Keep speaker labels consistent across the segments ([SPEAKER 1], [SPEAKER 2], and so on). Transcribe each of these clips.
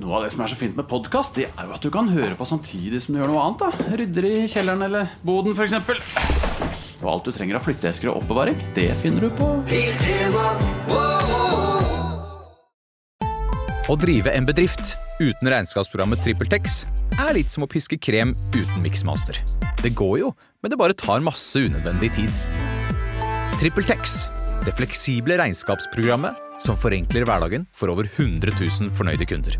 [SPEAKER 1] Noe av det som er så fint med podkast, det er jo at du kan høre på samtidig som du gjør noe annet. da Rydder i kjelleren eller boden, f.eks. Og alt du trenger av flytteesker og oppbevaring, det finner du på
[SPEAKER 2] Å drive en bedrift uten regnskapsprogrammet TrippelTex er litt som å piske krem uten miksmaster. Det går jo, men det bare tar masse unødvendig tid. TrippelTex det fleksible regnskapsprogrammet som forenkler hverdagen for over 100 000 fornøyde kunder.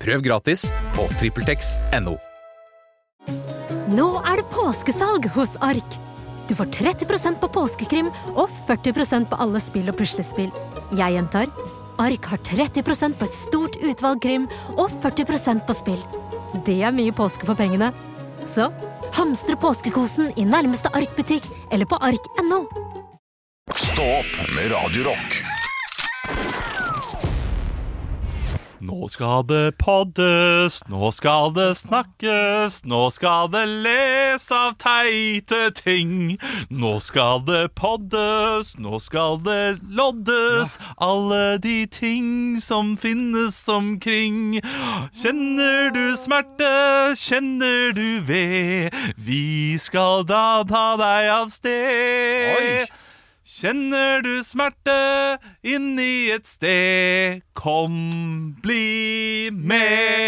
[SPEAKER 2] Prøv gratis på TrippelTex.no.
[SPEAKER 3] Nå er det påskesalg hos Ark. Du får 30 på påskekrim og 40 på alle spill og puslespill. Jeg gjentar Ark har 30 på et stort utvalg krim og 40 på spill. Det er mye påske for pengene. Så hamstre påskekosen i nærmeste Ark-butikk eller på ark.no.
[SPEAKER 4] Stå opp med Radio Rock.
[SPEAKER 5] Nå skal det poddes, nå skal det snakkes, nå skal det les av teite ting. Nå skal det poddes, nå skal det loddes, alle de ting som finnes omkring. Kjenner du smerte, kjenner du ved, vi skal da ta deg av sted.
[SPEAKER 1] Oi.
[SPEAKER 5] Kjenner du smerte inni et sted? Kom, bli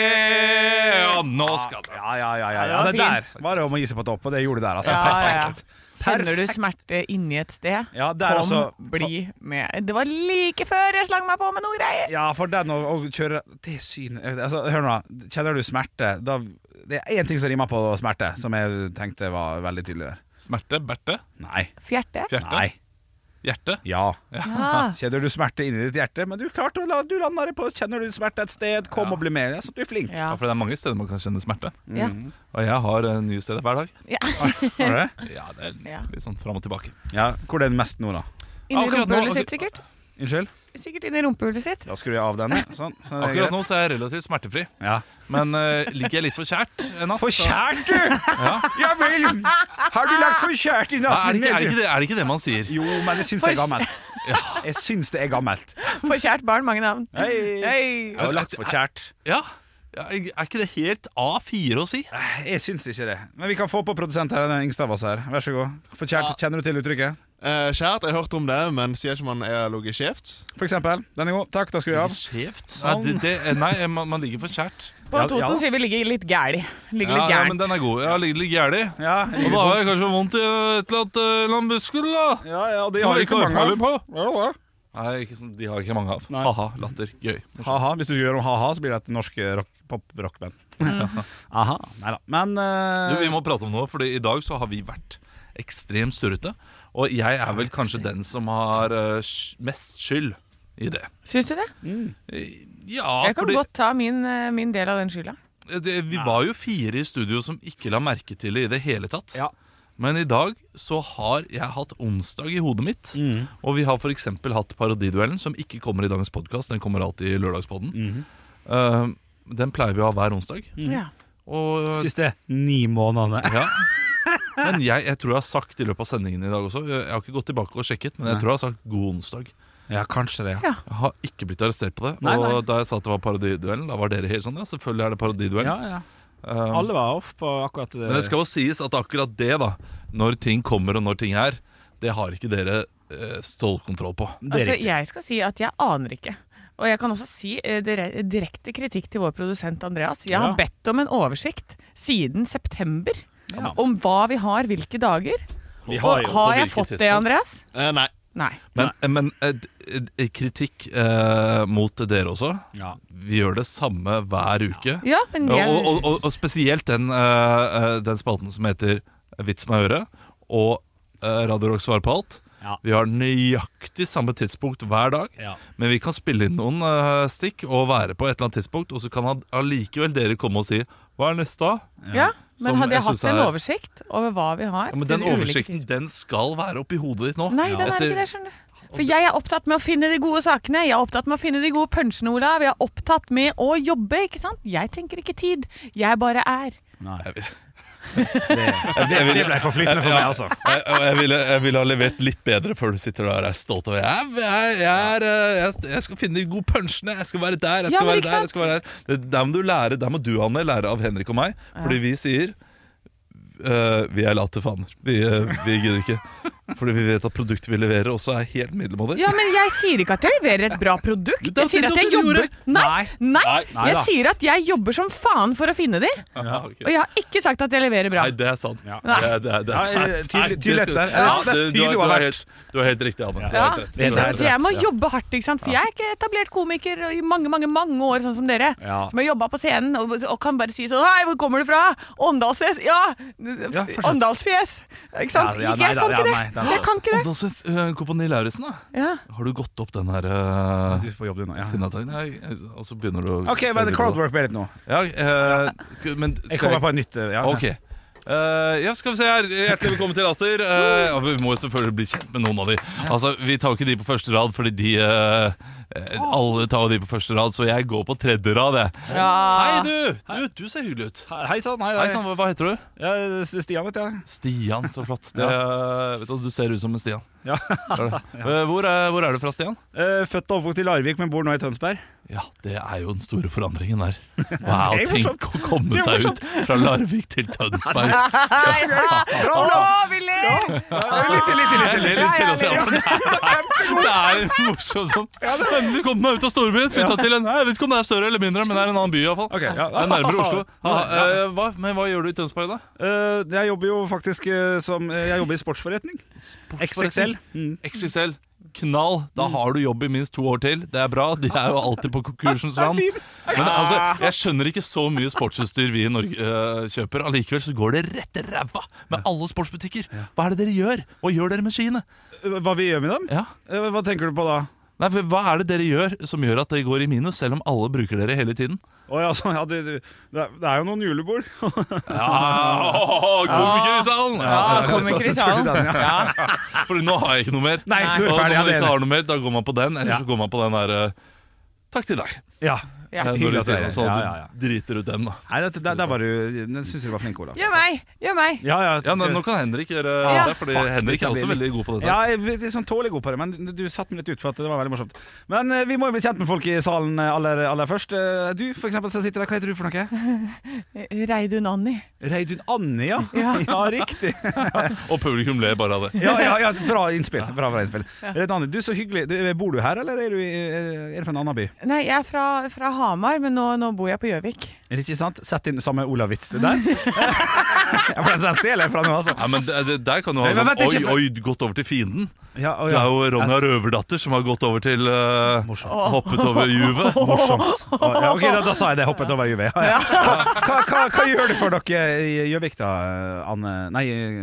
[SPEAKER 5] med! Og nå skal det
[SPEAKER 6] Ja, ja, ja. ja, ja.
[SPEAKER 7] Ja, det
[SPEAKER 6] Det,
[SPEAKER 7] var
[SPEAKER 6] der var det om å gi seg på topp, og det gjorde du der. Altså.
[SPEAKER 7] Ja,
[SPEAKER 6] Perfekt.
[SPEAKER 7] Kjenner du smerte inni et sted?
[SPEAKER 6] Ja, det er
[SPEAKER 7] Kom,
[SPEAKER 6] altså
[SPEAKER 7] bli med. Det var like før jeg slang meg på med noen greier.
[SPEAKER 6] Ja, for den å, å kjøre Det synet altså, Hør nå, da. kjenner du smerte? Da, det er én ting som rimer på smerte, som jeg tenkte var veldig tydelig der.
[SPEAKER 5] Smerte, berte,
[SPEAKER 6] Nei.
[SPEAKER 7] Fjerte.
[SPEAKER 5] fjerte,
[SPEAKER 6] Nei.
[SPEAKER 5] hjerte.
[SPEAKER 6] Ja.
[SPEAKER 7] Ja.
[SPEAKER 6] Kjenner du smerte inni ditt hjerte? Men du klarte å la, du landa det på Kjenner du smerte et sted, kom og bli med. Ja, Mhm. så du er flink.
[SPEAKER 7] Ja.
[SPEAKER 5] Ja, for det er mange steder man kan kjenne smerte.
[SPEAKER 7] Ja.
[SPEAKER 5] Og jeg har eh, nye steder hver dag.
[SPEAKER 6] Var det det?
[SPEAKER 5] Ja, det er
[SPEAKER 7] Ja.
[SPEAKER 5] litt sånn fram og tilbake.
[SPEAKER 6] Ja. Hvor er den mest nå, da?
[SPEAKER 7] Inni
[SPEAKER 5] Akkurat nå-
[SPEAKER 7] rumpehullet sitt, sikkert.
[SPEAKER 6] Unnskyld?
[SPEAKER 7] Sikkert inni rumpehullet sitt.
[SPEAKER 6] Da skrur jeg av denne. Sånn. Så det er
[SPEAKER 5] Akkurat nå
[SPEAKER 6] greit.
[SPEAKER 5] så er jeg relativt smertefri,
[SPEAKER 6] Ja.
[SPEAKER 5] men eh, ligger jeg litt for kjært en natt.
[SPEAKER 6] For
[SPEAKER 5] så-
[SPEAKER 6] kjært, du!
[SPEAKER 5] Ja.
[SPEAKER 6] Ja vel! Har du lagt for kjært i
[SPEAKER 5] Ja, Er
[SPEAKER 6] natten?
[SPEAKER 5] det, ikke, er, det ikke det, er det ikke det man sier?
[SPEAKER 6] Jo, men jeg syns
[SPEAKER 7] For
[SPEAKER 6] det er gammelt. Jeg syns det er gammelt.
[SPEAKER 7] For kjært barn, mange navn.
[SPEAKER 6] Hei.
[SPEAKER 7] Hei.
[SPEAKER 6] Jeg har lagt for kjært.
[SPEAKER 5] Ja. ja. Er ikke det helt A4 å si?
[SPEAKER 6] Jeg syns ikke det. Men vi kan få på produsent her, den yngste av oss her. Vær så god. For kjært, kjenner du til uttrykket?
[SPEAKER 8] Eh, kjært, jeg har hørt om det, men sier ikke man er ligget skjevt?
[SPEAKER 6] For eksempel. Den er god. Takk, da skrur jeg av.
[SPEAKER 5] Skjevt? sånn. Nei, det, det, nei man, man ligger for kjært.
[SPEAKER 7] På
[SPEAKER 6] Ja, ja.
[SPEAKER 7] Toten sier vi ligger litt gæli. Ligger
[SPEAKER 5] Ja,
[SPEAKER 7] litt
[SPEAKER 5] ja, men
[SPEAKER 7] gærent.
[SPEAKER 5] den er god. Jeg har ligget litt gæli.
[SPEAKER 6] Ja,
[SPEAKER 5] Og da har jeg kanskje vondt i et eller annet, eh, eller annet muskel, da.
[SPEAKER 6] ja, ja, og de
[SPEAKER 5] Som
[SPEAKER 6] har
[SPEAKER 5] jeg
[SPEAKER 6] ikke
[SPEAKER 5] har
[SPEAKER 6] mange
[SPEAKER 5] peiling
[SPEAKER 6] av.
[SPEAKER 5] på.
[SPEAKER 6] Ja, ja.
[SPEAKER 5] Nei, ikke, sånn- de har ikke mange av. Haha, latter. Gøy.
[SPEAKER 6] Ha-ha. Hvis du gjør om ha-ha, så blir det et norsk rock, pop-rockband. Mm. Aha. Nei da. Men eh,
[SPEAKER 5] Du, vi må prate om noe, for i dag så har vi vært ekstremt surrete. Og jeg er vel kanskje den som har eh, sj- mest skyld i det.
[SPEAKER 7] Syns du det?
[SPEAKER 5] Ja,
[SPEAKER 7] Jeg kan godt ta min, eh, min del av den skylda.
[SPEAKER 5] det, vi var jo fire i studio som ikke la merke til det i det hele tatt.
[SPEAKER 6] eh, Ja.
[SPEAKER 5] Men i dag så har jeg hatt onsdag i hodet mitt.
[SPEAKER 6] Mm.
[SPEAKER 5] Og vi har f.eks. hatt Parodiduellen, som ikke kommer i dagens podkast. Den kommer alltid i Lørdagspodden.
[SPEAKER 6] Mm.
[SPEAKER 5] Eh, den pleier vi å ha hver onsdag.
[SPEAKER 6] Mhm.
[SPEAKER 7] Ja.
[SPEAKER 5] Og,
[SPEAKER 6] Siste ni månedene.
[SPEAKER 5] ja. Men jeg, jeg tror jeg har sagt i løpet av sendingen i dag også Jeg har ikke gått tilbake og sjekket, men jeg tror jeg har sagt god onsdag.
[SPEAKER 6] Ja, kanskje det.
[SPEAKER 7] Ja.
[SPEAKER 5] Jeg har ikke blitt arrestert på det.
[SPEAKER 6] Nei, nei.
[SPEAKER 5] Og da jeg sa at det var Parodiduellen, da var dere helt sånn ja, selvfølgelig er det Parodiduellen.
[SPEAKER 6] Ja, ja. Alle var off på akkurat eh, det.
[SPEAKER 5] Men det skal jo sies at akkurat det, da når ting kommer og når ting er, det har ikke dere eh, stålkontroll på.
[SPEAKER 6] Det er
[SPEAKER 7] Altså,
[SPEAKER 6] riktig.
[SPEAKER 7] jeg skal si at jeg aner ikke. Og jeg kan også si eh, dire- direkte kritikk til vår produsent Andreas. Jeg har
[SPEAKER 6] Ja.
[SPEAKER 7] bedt om en oversikt siden september
[SPEAKER 6] Ja.
[SPEAKER 7] om hva vi har hvilke dager.
[SPEAKER 6] Vi
[SPEAKER 7] Og
[SPEAKER 6] har jo
[SPEAKER 7] har
[SPEAKER 5] på
[SPEAKER 7] jeg
[SPEAKER 5] hvilket
[SPEAKER 7] fått det,
[SPEAKER 5] tidspunkt.
[SPEAKER 7] Andreas?
[SPEAKER 8] Eh, nei.
[SPEAKER 7] Nei.
[SPEAKER 5] Men, men eh, d- eh, kritikk eh, mot dere også.
[SPEAKER 6] ja.
[SPEAKER 5] Vi gjør det samme hver uke.
[SPEAKER 7] Ja, men jeg,
[SPEAKER 5] Og, og, og, og spesielt den, eh, eh, den spalten som heter Vits med øret, og eh, Radio Rock svarer på alt.
[SPEAKER 6] Ja.
[SPEAKER 5] Vi har nøyaktig samme tidspunkt hver dag,
[SPEAKER 6] Ja.
[SPEAKER 5] men vi kan spille inn noen eh, stikk og være på et eller annet tidspunkt, og så kan all- allikevel dere komme og si 'hva er neste', da?
[SPEAKER 7] ja,
[SPEAKER 5] Som
[SPEAKER 7] men hadde
[SPEAKER 5] jeg
[SPEAKER 7] jeg hatt
[SPEAKER 5] synes
[SPEAKER 7] en
[SPEAKER 5] er-
[SPEAKER 7] oversikt over hva vi har
[SPEAKER 5] Ja, men den
[SPEAKER 7] til ulike
[SPEAKER 5] oversikten den skal være oppi hodet ditt nå.
[SPEAKER 7] Nei, den er
[SPEAKER 5] Etter-
[SPEAKER 7] ikke det, skjønner du. For jeg er opptatt med å finne de gode sakene, jeg er opptatt med å finne de gode punchene, Olav. Jeg er opptatt med å jobbe, ikke sant? Jeg tenker ikke tid, jeg bare er.
[SPEAKER 6] Nei. Det, det ble for flytende for meg, altså.
[SPEAKER 5] Jeg, jeg, ville, jeg ville ha levert litt bedre før du sitter der og er stolt over jeg, jeg, jeg, er, eh, jeg, jeg skal finne de gode punchene, jeg skal være der, jeg
[SPEAKER 7] Ja,
[SPEAKER 5] skal
[SPEAKER 7] men
[SPEAKER 5] være
[SPEAKER 7] ikke
[SPEAKER 5] der, jeg
[SPEAKER 7] sant?
[SPEAKER 5] skal være der. Det, der må du lære, der må du, Anne, lære av Henrik og meg, fordi vi sier eh, vi er late faner. Vi, eh, vi gidder ikke. Fordi vi vet at produktet vi leverer, også er helt middelmådig.
[SPEAKER 7] Ja, men jeg sier ikke at jeg leverer et bra produkt.
[SPEAKER 5] Det er
[SPEAKER 7] Jeg sier
[SPEAKER 5] akkurat
[SPEAKER 7] at
[SPEAKER 5] det
[SPEAKER 7] jeg
[SPEAKER 5] du
[SPEAKER 7] jobber
[SPEAKER 5] gjorde.
[SPEAKER 7] Nei, nei,
[SPEAKER 5] Nei,
[SPEAKER 7] jeg
[SPEAKER 5] da.
[SPEAKER 7] sier at jeg jobber som faen for å finne de.
[SPEAKER 5] Ja, ok.
[SPEAKER 7] Og jeg har ikke sagt at jeg leverer bra.
[SPEAKER 5] Nei, det er sant.
[SPEAKER 6] Ja.
[SPEAKER 5] Det, er- det, er- det, er-
[SPEAKER 6] Ja,
[SPEAKER 5] nei, det
[SPEAKER 6] tydelig- tydelig
[SPEAKER 5] skal-
[SPEAKER 6] der.
[SPEAKER 5] Ja,
[SPEAKER 6] Det er
[SPEAKER 5] du- du har-
[SPEAKER 6] tydelig å ha
[SPEAKER 5] du har
[SPEAKER 6] vært.
[SPEAKER 5] helt- Du har helt riktig, Anne. Du
[SPEAKER 7] Ja,
[SPEAKER 5] har helt rett.
[SPEAKER 6] Det er
[SPEAKER 5] Du har
[SPEAKER 6] helt
[SPEAKER 5] helt
[SPEAKER 7] så jeg må
[SPEAKER 5] rett.
[SPEAKER 7] jobbe hardt, ikke sant? for jeg er ikke etablert komiker i mange mange, mange år, sånn som dere.
[SPEAKER 6] Ja.
[SPEAKER 7] Som har jobba på scenen og, og kan bare si sånn Hei, hvor kommer du fra? Åndalsfjes? Ja!
[SPEAKER 6] fortsett.
[SPEAKER 7] Åndalsfjes! Ikke sant?
[SPEAKER 6] Ja, ja,
[SPEAKER 7] Ikke-
[SPEAKER 6] nei
[SPEAKER 7] jeg
[SPEAKER 6] da,
[SPEAKER 7] kan
[SPEAKER 6] ja,
[SPEAKER 7] ikke det.
[SPEAKER 6] nei, det er
[SPEAKER 7] Jeg kan ikke det.
[SPEAKER 5] Og da synes, øh, Kompani Lauritzen, da.
[SPEAKER 7] Ja.
[SPEAKER 5] Har du gått opp den her øh,
[SPEAKER 6] Du får jobbe du nå. Ja.
[SPEAKER 5] sinnatagen? Nei, Og så begynner du å
[SPEAKER 6] Ok, men crowdwork ble litt nå.
[SPEAKER 5] Ja, øh, skal, men skal
[SPEAKER 6] Jeg kommer på et nytt. Ja.
[SPEAKER 5] Ok. Eh, ja, skal vi se her. Hjertelig velkommen til Latter. Eh, og vi må jo selvfølgelig bli kjent med noen av de. Altså, Vi tar jo ikke de på første rad, fordi de eh, eh, Alle tar jo de på første rad, så jeg går på tredje rad, jeg. Hei, du! Du, du ser hyggelig ut.
[SPEAKER 6] Hei sann, hei,
[SPEAKER 5] Hei sann, hva- hva heter du?
[SPEAKER 6] Ja, Stian heter jeg.
[SPEAKER 5] Stian, så flott. Det, eh, vet du, du ser ut som en Stian.
[SPEAKER 6] Ja.
[SPEAKER 5] Det er det. Eh, Hvor, er, hvor er du fra, Stian?
[SPEAKER 6] Eh, Født og oppvokst i Larvik, men bor nå i Tønsberg.
[SPEAKER 5] Ja, det er jo den store forandringen der. Wow,
[SPEAKER 6] Det er
[SPEAKER 5] tenk å komme seg ut fra Larvik til Tønsberg.
[SPEAKER 7] Nå vil jeg!
[SPEAKER 6] Litt, litt, litt,
[SPEAKER 5] Jeg ler litt selv også, ja. men Det er en morsom sånn. Endelig kom meg ut av storbyen. Flytta til en Jeg vet ikke om det er større eller mindre, men det er en annen by iallfall.
[SPEAKER 6] Ok, ja.
[SPEAKER 5] Det er nærmere Oslo. Ja, eh, hva, men hva gjør du i Tønsberg, da?
[SPEAKER 6] Eh, jeg jobber jo faktisk eh, som eh, Jeg jobber i sportsforretning. XXL. Mm.
[SPEAKER 5] XXL. Knall. Da har du jobb i minst to år til. Det er bra. De er jo alltid på konkursens rand. Men
[SPEAKER 6] Ah.
[SPEAKER 5] altså, jeg skjønner ikke så mye sportsutstyr vi i Norge eh, kjøper. Allikevel så går det rett i ræva med alle sportsbutikker. Hva er det dere gjør? Hva gjør dere med skiene?
[SPEAKER 6] Eh, Hva vi gjør med dem?
[SPEAKER 5] Ja.
[SPEAKER 6] Eh, Hva tenker du på da?
[SPEAKER 5] Nei, for Hva er det dere gjør som gjør at det går i minus, selv om alle bruker dere hele tiden?
[SPEAKER 6] Å, ja, så, ja, du, du, det, er, det er jo noen julebord.
[SPEAKER 5] Ja, komiker i salen!
[SPEAKER 7] Ja, komiker i salen.
[SPEAKER 5] For nå har jeg ikke noe mer.
[SPEAKER 6] Nei, nå er vi
[SPEAKER 5] Og Når man
[SPEAKER 6] ferdig, ja, det er
[SPEAKER 5] ikke
[SPEAKER 6] det.
[SPEAKER 5] har noe mer, da går man på den, eller
[SPEAKER 6] Ja.
[SPEAKER 5] så går man på den der eh, Takk til deg.
[SPEAKER 6] Ja.
[SPEAKER 7] Ja.
[SPEAKER 5] Eh, Når
[SPEAKER 6] hyggelig
[SPEAKER 5] de
[SPEAKER 6] at
[SPEAKER 5] sier
[SPEAKER 6] dere-
[SPEAKER 5] noe sånn,
[SPEAKER 6] ja, ja, ja.
[SPEAKER 5] du driter ut den, da.
[SPEAKER 6] Nei, det, det, det er bare Den syns du var flink, Olav.
[SPEAKER 7] Gjør meg! Gjør meg!
[SPEAKER 6] Ja, ja,
[SPEAKER 5] Ja, men Nå kan Henrik gjøre
[SPEAKER 7] Ja.
[SPEAKER 5] det, Fordi Henrik er også veldig god på dette.
[SPEAKER 6] Ja, jeg er litt sånn tålelig god på det, men du- du satte meg litt ut for at det var veldig morsomt. Men eh, vi må jo bli kjent med folk i salen eh, aller, aller først. Eh, Du, for eksempel, som sitter der. Hva heter du for noe?
[SPEAKER 7] Reidun Anni.
[SPEAKER 6] Reidun Anni, ja.
[SPEAKER 7] Ja.
[SPEAKER 6] riktig.
[SPEAKER 5] Og publikum ler bare av det.
[SPEAKER 6] Ja, ja, ja, bra innspill. Bra, bra innspill. Reidun Anni, du, så hyggelig. Du, eh, bor du her, eller er du, i- eh, er du fra en annen by?
[SPEAKER 7] Nei, jeg er fra, fra Hamar, men nå, nå bor jeg på Gjøvik.
[SPEAKER 6] Er det ikke sant? Sett inn samme Olav-vits der. ja, for den stjeler jeg fra nå, altså.
[SPEAKER 5] Ja, men det, det, Der kan du ha
[SPEAKER 6] Nei, men
[SPEAKER 5] sånn
[SPEAKER 6] vent,
[SPEAKER 5] Oi,
[SPEAKER 6] ikke for-
[SPEAKER 5] oi, gått over til fienden.
[SPEAKER 6] Ja, å,
[SPEAKER 5] Det
[SPEAKER 6] ja.
[SPEAKER 5] er jo Ronja Røverdatter som har gått over til eh, Hoppet over juvet.
[SPEAKER 6] Morsomt. Å, Ja, ok, da, da sa jeg det. Hoppet over UV. Ja, ja. Hva, hva, hva gjør du for dere i Gjøvik, da, Anne? Nei, eh,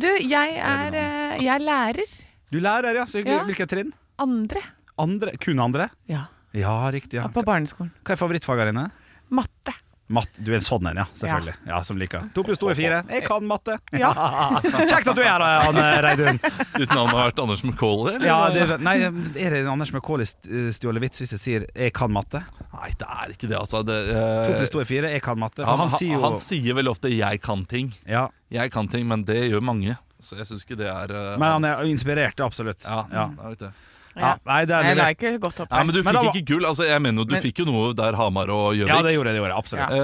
[SPEAKER 7] Du, jeg er, eh, jeg er lærer.
[SPEAKER 6] du lærer, ja. Så hyggelig.
[SPEAKER 7] Ja.
[SPEAKER 6] Hvilket trinn?
[SPEAKER 7] Andre.
[SPEAKER 6] Andre? Kun andre?
[SPEAKER 7] Ja.
[SPEAKER 6] Ja, riktig. ja
[SPEAKER 7] På barneskolen.
[SPEAKER 6] Hva er favorittfagene dine?
[SPEAKER 7] Matte.
[SPEAKER 6] Matt, du er en sånn en, ja. Selvfølgelig. Ja, Som liker. To pluss to er fire. Jeg kan matte.
[SPEAKER 7] Ja.
[SPEAKER 6] Kjekt at du er her, Anne Reidun.
[SPEAKER 5] Ditt navn har vært Anders McCauley? eller?
[SPEAKER 6] Ja, det, nei, er det en Anders McCauley st- eh, stjålet vits hvis jeg sier 'jeg kan matte'?
[SPEAKER 5] Nei, det er ikke det, altså. Det,
[SPEAKER 6] To
[SPEAKER 5] eh,
[SPEAKER 6] pluss to er fire. Jeg kan matte. For
[SPEAKER 5] han,
[SPEAKER 6] han sier jo
[SPEAKER 5] han sier veldig ofte 'jeg kan ting'.
[SPEAKER 6] ja.
[SPEAKER 5] Jeg kan ting, men det gjør mange. Så jeg syns ikke det er eh,
[SPEAKER 6] Men han er inspirert, absolutt.
[SPEAKER 5] ja,
[SPEAKER 6] Ja.
[SPEAKER 5] det er litt det.
[SPEAKER 6] Ja, Nei, det er
[SPEAKER 7] Jeg la
[SPEAKER 6] levert.
[SPEAKER 7] ikke godt opp
[SPEAKER 5] ja, Men du
[SPEAKER 6] Men
[SPEAKER 5] fikk
[SPEAKER 6] da-
[SPEAKER 5] ikke gull. Altså, jeg mener jo Du
[SPEAKER 7] Men-
[SPEAKER 5] fikk jo noe der Hamar og Gjøvik.
[SPEAKER 6] Ja, det gjorde jeg. det gjorde jeg, Absolutt.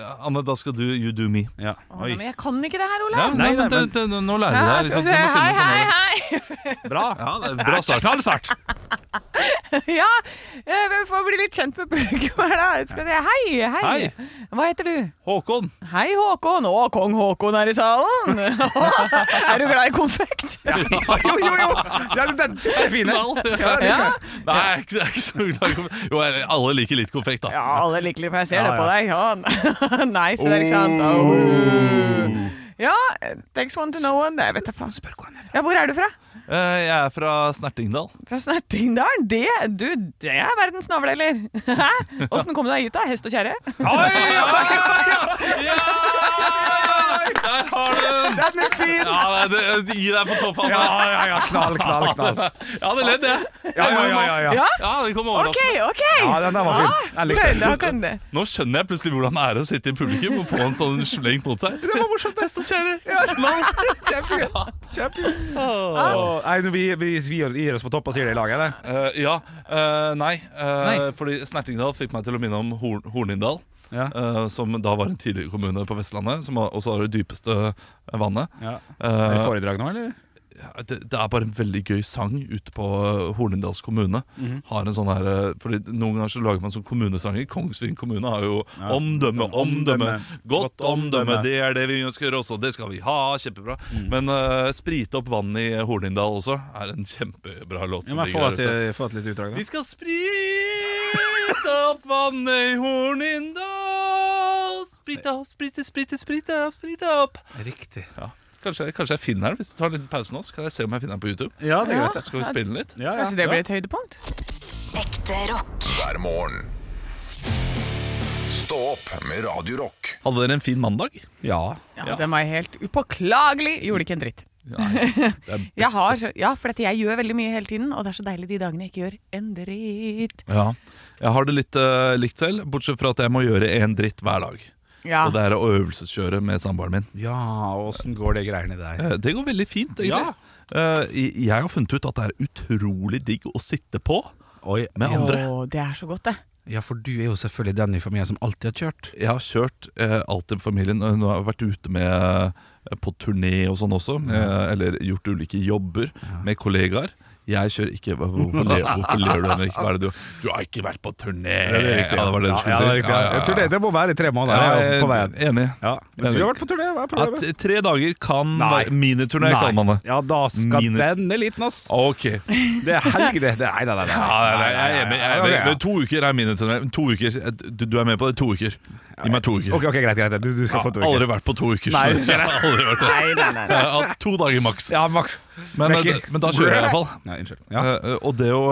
[SPEAKER 5] Eh, Anne, da skal du You do me.
[SPEAKER 6] Ja.
[SPEAKER 7] Å,
[SPEAKER 6] Oi.
[SPEAKER 7] nei, men jeg kan ikke det her, Olav.
[SPEAKER 5] Ja,
[SPEAKER 6] nei,
[SPEAKER 5] nei,
[SPEAKER 6] nei,
[SPEAKER 5] men det, det, nå lærer jeg deg. Liksom.
[SPEAKER 7] skal vi
[SPEAKER 5] Du
[SPEAKER 7] se.
[SPEAKER 5] må
[SPEAKER 7] Hei,
[SPEAKER 5] finne
[SPEAKER 7] hei,
[SPEAKER 5] sånne
[SPEAKER 7] hei!
[SPEAKER 6] Bra.
[SPEAKER 5] ja, det er Bra start.
[SPEAKER 6] Knallstart.
[SPEAKER 7] Ja, eh, vi får bli litt kjent med publikum her, da. Skal vi se. Hei, hei,
[SPEAKER 5] Hei.
[SPEAKER 7] Hva heter du?
[SPEAKER 5] Håkon.
[SPEAKER 7] Hei, Håkon. Å, kong Håkon er i salen. er du glad i konfekt?
[SPEAKER 6] Jo, jo, jo. Ja, den syns jeg er fin.
[SPEAKER 5] Ja.
[SPEAKER 7] Ja.
[SPEAKER 5] Nei, jeg er ikke, jeg er ikke så glad i konfekt. Jo, jeg- alle liker litt konfekt, da.
[SPEAKER 7] Ja, alle liker det, for jeg ser
[SPEAKER 6] Ja,
[SPEAKER 7] det på deg. Ja. Nei, så det er ikke sant. Au. Ja, thanks one to know one. Jeg vet da faen. Spør hvor er fra. Ja, hvor er du fra?
[SPEAKER 5] Eh, jeg er fra Snertingdal.
[SPEAKER 7] Fra Snertingdalen? Det, du, det er verdens navle, eller? Hæ? Åssen kom du deg hit, da? Hest og kjerre?
[SPEAKER 5] Ja! Der har du den!
[SPEAKER 6] Den er fin!
[SPEAKER 5] Ja, det, det, Gi deg på toppen.
[SPEAKER 6] Ja, ja, ja, knall, knall, knall.
[SPEAKER 5] Jeg hadde ledd, jeg.
[SPEAKER 6] Ja, ja, ja, ja, ja.
[SPEAKER 7] Ja? Ah,
[SPEAKER 5] Ja, det kom
[SPEAKER 7] OK,
[SPEAKER 5] overraskende.
[SPEAKER 7] OK!
[SPEAKER 6] ja den der var fin. Den likte
[SPEAKER 7] Føler
[SPEAKER 6] jeg.
[SPEAKER 7] dere det?
[SPEAKER 5] Nå skjønner jeg plutselig hvordan det er å sitte i publikum og få en sånn slengt mot seg.
[SPEAKER 6] Det var morsomt. Det som skjer. Kjempegøy. Kjempegøy. Åh, Nei, vi, vi, vi gir oss på topp og sier det i lag, eller?
[SPEAKER 5] Eh, ja. eh, nei, eh,
[SPEAKER 6] Nei.
[SPEAKER 5] Fordi Snertingdal fikk meg til å minne om Horn Hornindal.
[SPEAKER 6] Ja.
[SPEAKER 5] eh, som da var en tidligere kommune på Vestlandet, som har- også har det dypeste vannet.
[SPEAKER 6] Ja. Er det
[SPEAKER 5] Eh,
[SPEAKER 6] foredrag nå, eller?
[SPEAKER 5] det, det er bare en veldig gøy sang ute på eh, Hornindals kommune.
[SPEAKER 6] Mhm.
[SPEAKER 5] Har en sånn her, eh, fordi Noen ganger så lager man sånn kommunesanger. Kongsving kommune har jo omdømme, omdømme, godt omdømme. Det er det vi ønsker også, det skal vi ha. Kjempebra.
[SPEAKER 6] Mm.
[SPEAKER 5] Men eh, sprite opp vannet i Hornindal også er en kjempebra låt.
[SPEAKER 6] Ja,
[SPEAKER 5] som
[SPEAKER 6] men få
[SPEAKER 5] ligger
[SPEAKER 6] et,
[SPEAKER 5] der ute.
[SPEAKER 6] få et lite utdrag,
[SPEAKER 5] Vi
[SPEAKER 6] da.
[SPEAKER 5] skal sprite opp vannet i Hornindal. Sprite opp, sprite, sprite, sprite opp, sprite opp.
[SPEAKER 6] Riktig.
[SPEAKER 5] Ja. Kanskje, kanskje jeg finner den hvis du tar en liten pause nå. Så kan jeg se om jeg finner den på YouTube.
[SPEAKER 6] Ja, det er greit.
[SPEAKER 5] Så skal vi spille den litt.
[SPEAKER 6] Ja, ja.
[SPEAKER 7] Kanskje det blir et høydepunkt?
[SPEAKER 3] Ekte rock.
[SPEAKER 4] hver morgen. Stå opp med Radio Rock.
[SPEAKER 5] Hadde dere en fin mandag?
[SPEAKER 6] ja.
[SPEAKER 7] Ja, Den var helt upåklagelig. Gjorde ikke en dritt. Jeg har, så- ja, for dette, jeg gjør veldig mye hele tiden, og det er så deilig de dagene jeg ikke gjør en dritt.
[SPEAKER 5] Ja. Jeg har det litt eh, likt selv, bortsett fra at jeg må gjøre en dritt hver dag.
[SPEAKER 6] Ah.
[SPEAKER 7] Ja.
[SPEAKER 5] Og det er å øvelseskjøre med samboeren min.
[SPEAKER 6] ja åssen går det greiene der?
[SPEAKER 5] Eh, Det går veldig fint, egentlig.
[SPEAKER 6] Ja.
[SPEAKER 5] Eh, jeg har funnet ut at det er utrolig digg å sitte på
[SPEAKER 6] Oi,
[SPEAKER 5] med andre.
[SPEAKER 7] Å, det er så godt, det.
[SPEAKER 6] Ja, for du er jo selvfølgelig den i familien som alltid har kjørt.
[SPEAKER 5] Jeg har kjørt eh, alltid med familien. Nå har jeg vært ute med eh, på turné og sånn også, med, eller gjort ulike jobber med kollegaer. Jeg kjører ikke hva- Hvorfor ler, hvorfor ler du, Henrik? Hva er det du Du har ikke vært på turné! Ja, det var det du skulle
[SPEAKER 6] ja, det, er
[SPEAKER 5] si.
[SPEAKER 6] riktig, ja. Jeg tror det, det må være i tre måneder.
[SPEAKER 5] Ja,
[SPEAKER 6] jeg er på
[SPEAKER 5] jeg
[SPEAKER 6] veien.
[SPEAKER 5] er enig.
[SPEAKER 6] Ja. Du har vært på turné? Hva er
[SPEAKER 5] At
[SPEAKER 6] problemet?
[SPEAKER 5] tre dager kan
[SPEAKER 6] Nei.
[SPEAKER 5] være miniturné, kaller man det.
[SPEAKER 6] Ja, da skal
[SPEAKER 5] Mine-
[SPEAKER 6] denne liten, ass.
[SPEAKER 5] Ok. Ja, nei,
[SPEAKER 6] Det er helg, det. det nei, nei, nei, nei.
[SPEAKER 5] nei, jeg er enig. Jeg er
[SPEAKER 6] Ok,
[SPEAKER 5] enig.
[SPEAKER 6] ja.
[SPEAKER 5] Men To uker er miniturné. To uker. Du, du er med på det? To uker. Gi meg to uker.
[SPEAKER 6] Ok, ok, greit, greit. Du, du skal få to
[SPEAKER 5] Jeg har
[SPEAKER 6] uker.
[SPEAKER 5] aldri vært på to uker.
[SPEAKER 6] Nei,
[SPEAKER 5] så jeg har aldri vært det. Jeg har hatt To dager maks.
[SPEAKER 6] Ja, Max.
[SPEAKER 5] Men, men,
[SPEAKER 6] Mekker.
[SPEAKER 5] men da kjører jeg iallfall.
[SPEAKER 6] Nei, unnskyld. Ja.
[SPEAKER 5] Eh, og det å,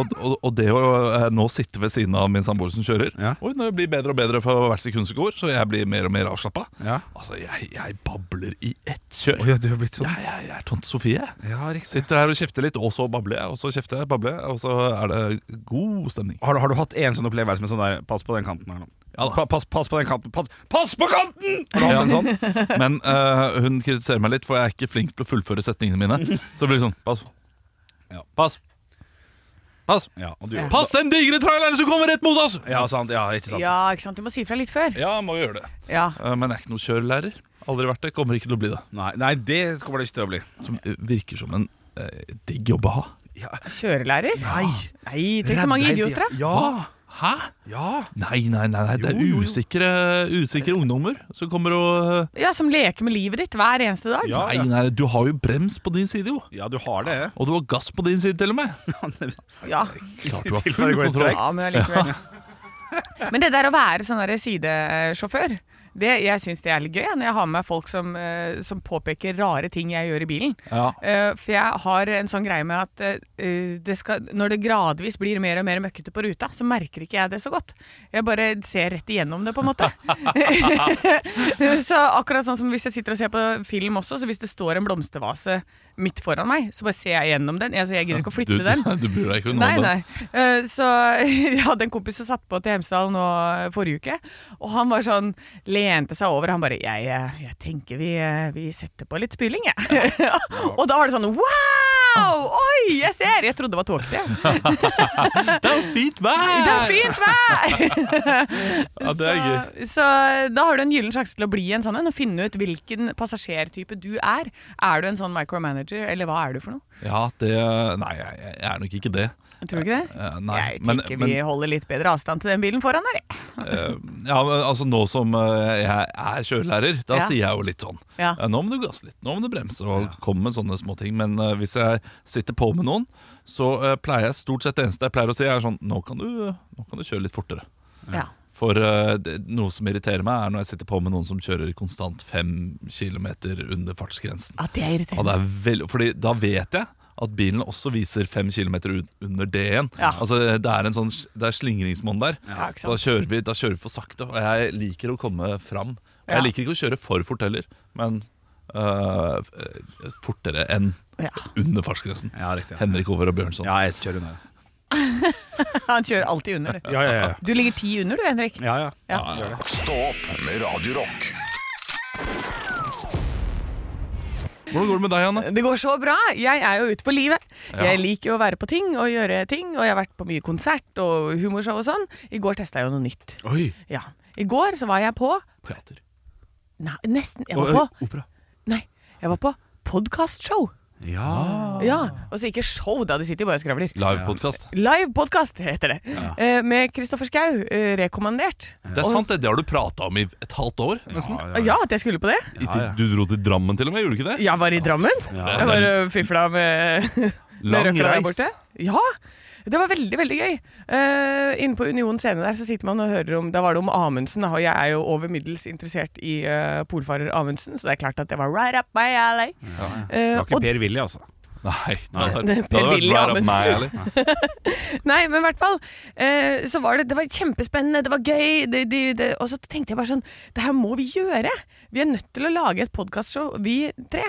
[SPEAKER 5] og, og, og det å eh, nå sitte ved siden av min samboer som kjører
[SPEAKER 6] Ja.
[SPEAKER 5] Og hun blir bedre og bedre for hvert sekund som går, så jeg blir mer og mer avslappa.
[SPEAKER 6] Ja.
[SPEAKER 5] Altså, jeg, jeg babler i ett kjør.
[SPEAKER 6] Å ja, du har blitt sånn.
[SPEAKER 5] Jeg, jeg, jeg er tante Sofie. jeg.
[SPEAKER 6] Ja, riktig.
[SPEAKER 5] Sitter her og kjefter litt, og så babler jeg, og så kjefter jeg, babler jeg, og så er det god stemning.
[SPEAKER 6] Har du, har du hatt en sånn opplevelse med sånn der Pass på den kanten her nå.
[SPEAKER 5] Ja da.
[SPEAKER 6] Pa, pass, pass på den kanten. Pass, pass på kanten! Har du hatt en sånn?
[SPEAKER 5] Men eh, hun kritiserer meg litt, for jeg er ikke flink til å fullføre setningene mine. Så det blir sånn Pass.
[SPEAKER 6] Ja.
[SPEAKER 5] Pass. Pass.
[SPEAKER 6] Ja, og du,
[SPEAKER 5] Pass den digre traileren som kommer rett mot oss!
[SPEAKER 6] ja, sant, ja ikke sant.
[SPEAKER 7] Ja, ikke sant? Du må si fra litt før.
[SPEAKER 5] Ja, må gjøre det.
[SPEAKER 7] Ja.
[SPEAKER 5] Eh, Men jeg er ikke noen kjørelærer. Aldri vært det. Kommer ikke til å bli det.
[SPEAKER 6] Nei, nei, det kommer det ikke til å bli.
[SPEAKER 5] Som eh, virker som en eh, digg jobb å ha.
[SPEAKER 7] Kjørelærer?
[SPEAKER 6] Nei.
[SPEAKER 7] Nei, tenk så mange idioter, da.
[SPEAKER 6] Ja.
[SPEAKER 5] Hæ?
[SPEAKER 6] ja.
[SPEAKER 5] Nei, nei, nei, nei. det er
[SPEAKER 6] Jo, jo, jo.
[SPEAKER 5] usikre, usikre ungdommer som kommer og eh,
[SPEAKER 7] Ja, som leker med livet ditt hver eneste dag.
[SPEAKER 6] Ja.
[SPEAKER 5] Nei, nei, du har jo brems på din side, jo.
[SPEAKER 6] Ja, du har det.
[SPEAKER 5] Og du har gass på din side, til og med.
[SPEAKER 7] Ja,
[SPEAKER 5] Klart du har
[SPEAKER 6] I tilfelle
[SPEAKER 5] full
[SPEAKER 6] det går i
[SPEAKER 5] kontroll.
[SPEAKER 6] trekk.
[SPEAKER 7] ja men allikevel. Men det der å være sånn der sidesjåfør det, jeg syns det er litt gøy ja, når jeg har med meg folk som, eh, som påpeker rare ting jeg gjør i bilen.
[SPEAKER 5] Ja.
[SPEAKER 7] Eh, for jeg har en sånn greie med at eh, det skal, når det gradvis blir mer og mer møkkete på ruta, så merker ikke jeg det så godt. Jeg bare ser rett igjennom det, på en måte. så akkurat sånn som hvis jeg sitter og ser på film også, så hvis det står en blomstervase midt foran meg, så bare ser jeg gjennom den. Altså, jeg gidder ikke å
[SPEAKER 5] Du,
[SPEAKER 7] flytte den.
[SPEAKER 5] du bryr deg ikke om
[SPEAKER 7] Nei,
[SPEAKER 5] det.
[SPEAKER 7] nei. Eh, Så jeg hadde en kompis som satt på til Hemsedal nå eh, forrige uke, og han var sånn, lente seg over, han bare, jeg, eh, jeg tenker vi, eh, vi setter på litt spyling, jeg. og da var det sånn, wow, oi, jeg ser, jeg trodde det var tåkete.
[SPEAKER 5] Det er jo fint vær!
[SPEAKER 7] Det er fint vær!
[SPEAKER 5] Ja, det er gøy.
[SPEAKER 7] Så, så da har du en gyllen sjanse til å bli en sånn en, og finne ut hvilken passasjertype du er. Er du en sånn micromanager, eller hva er du for noe?
[SPEAKER 5] Ja, det Nei, jeg, jeg er nok ikke det.
[SPEAKER 7] Tror du ikke det?
[SPEAKER 5] Eh, Nei.
[SPEAKER 7] jeg tenker vi holder litt bedre avstand til den bilen foran der, jeg.
[SPEAKER 5] eh, ja, men altså Nå som eh, jeg er kjørelærer, da
[SPEAKER 7] Ja.
[SPEAKER 5] sier jeg jo litt sånn
[SPEAKER 7] Ja.
[SPEAKER 5] eh, Nå må du gasse litt, nå må du bremse og komme med sånne små ting. Men eh, hvis jeg sitter på med noen, så eh, pleier jeg stort sett det eneste jeg pleier å si, er sånn Nå kan du, nå kan du kjøre litt fortere.
[SPEAKER 7] Ja.
[SPEAKER 5] For eh, det, noe som irriterer meg, er når jeg sitter på med noen som kjører konstant fem kilometer under fartsgrensen.
[SPEAKER 7] At det er
[SPEAKER 5] Og
[SPEAKER 7] irriterende.
[SPEAKER 5] det er vel- fordi da vet jeg at bilen også viser fem kilometer un- under D1.
[SPEAKER 7] Ja.
[SPEAKER 5] Altså, det er en sånn, det er slingringsmonn der.
[SPEAKER 7] Ja, ikke
[SPEAKER 5] Så da
[SPEAKER 7] sant?
[SPEAKER 5] kjører, vi, da kjører vi for sakte, og jeg liker å komme fram. Og jeg
[SPEAKER 7] Ja.
[SPEAKER 5] liker ikke å kjøre for fort heller, men øh, fortere enn
[SPEAKER 7] Ja.
[SPEAKER 5] under fartsgrensen.
[SPEAKER 6] Ja, riktig. Ja,
[SPEAKER 5] Henrik Over og Bjørnson.
[SPEAKER 6] ja jeg kjører under.
[SPEAKER 7] Han kjører alltid under, du.
[SPEAKER 6] Ja, ja, ja.
[SPEAKER 7] Du ligger ti under du, Henrik.
[SPEAKER 6] ja, ja.
[SPEAKER 4] Stå opp med Radio Rock.
[SPEAKER 5] Hvordan går det med deg, Anne?
[SPEAKER 7] Det går så bra. Jeg er jo ute på livet.
[SPEAKER 5] Ja.
[SPEAKER 7] Jeg liker jo å være på ting og gjøre ting, og jeg har vært på mye konsert og humorshow og sånn. I går testa jeg jo noe nytt.
[SPEAKER 5] Oi,
[SPEAKER 7] Ja. I går så var jeg på
[SPEAKER 5] teater.
[SPEAKER 7] Nei, nesten. Jeg var
[SPEAKER 6] Og,
[SPEAKER 7] på
[SPEAKER 6] ø, opera.
[SPEAKER 7] Nei, jeg var på podcastshow.
[SPEAKER 6] Ja.
[SPEAKER 7] Ja. Og så ikke show, da. De sitter jo bare og skravler.
[SPEAKER 5] Livepodkast.
[SPEAKER 7] Live podcast heter det. Eh, med Kristoffer Schau, eh, rekommandert.
[SPEAKER 5] Det er sant, det. Det har du prata om i et halvt år, nesten.
[SPEAKER 7] Ja, ja, at jeg skulle på det?
[SPEAKER 5] I- Du dro til Drammen til og med, gjorde du ikke det?
[SPEAKER 7] Jeg var i Drammen. Jeg bare fifla med
[SPEAKER 5] Lang
[SPEAKER 7] med røkla der
[SPEAKER 5] reis.
[SPEAKER 7] borte. Ja, det var veldig, veldig gøy. Eh, inne på Union scene der så sitter man og hører om Da var det om Amundsen, da, og jeg er jo over middels interessert i eh, polfarer Amundsen, så det er klart at det var right up my alley. Eh,
[SPEAKER 6] Det var ikke
[SPEAKER 7] og,
[SPEAKER 6] Per Willy, altså.
[SPEAKER 5] Nei, det hadde
[SPEAKER 7] Nei.
[SPEAKER 5] vært- det hadde
[SPEAKER 7] Per-Willy
[SPEAKER 5] vært right up
[SPEAKER 7] Amundsen.
[SPEAKER 5] my alley.
[SPEAKER 7] nei, men i hvert fall. eh, så var det Det var kjempespennende, det var gøy, det, det, det, og så tenkte jeg bare sånn Det her må vi gjøre! Vi er nødt til å lage et podkastshow, vi tre.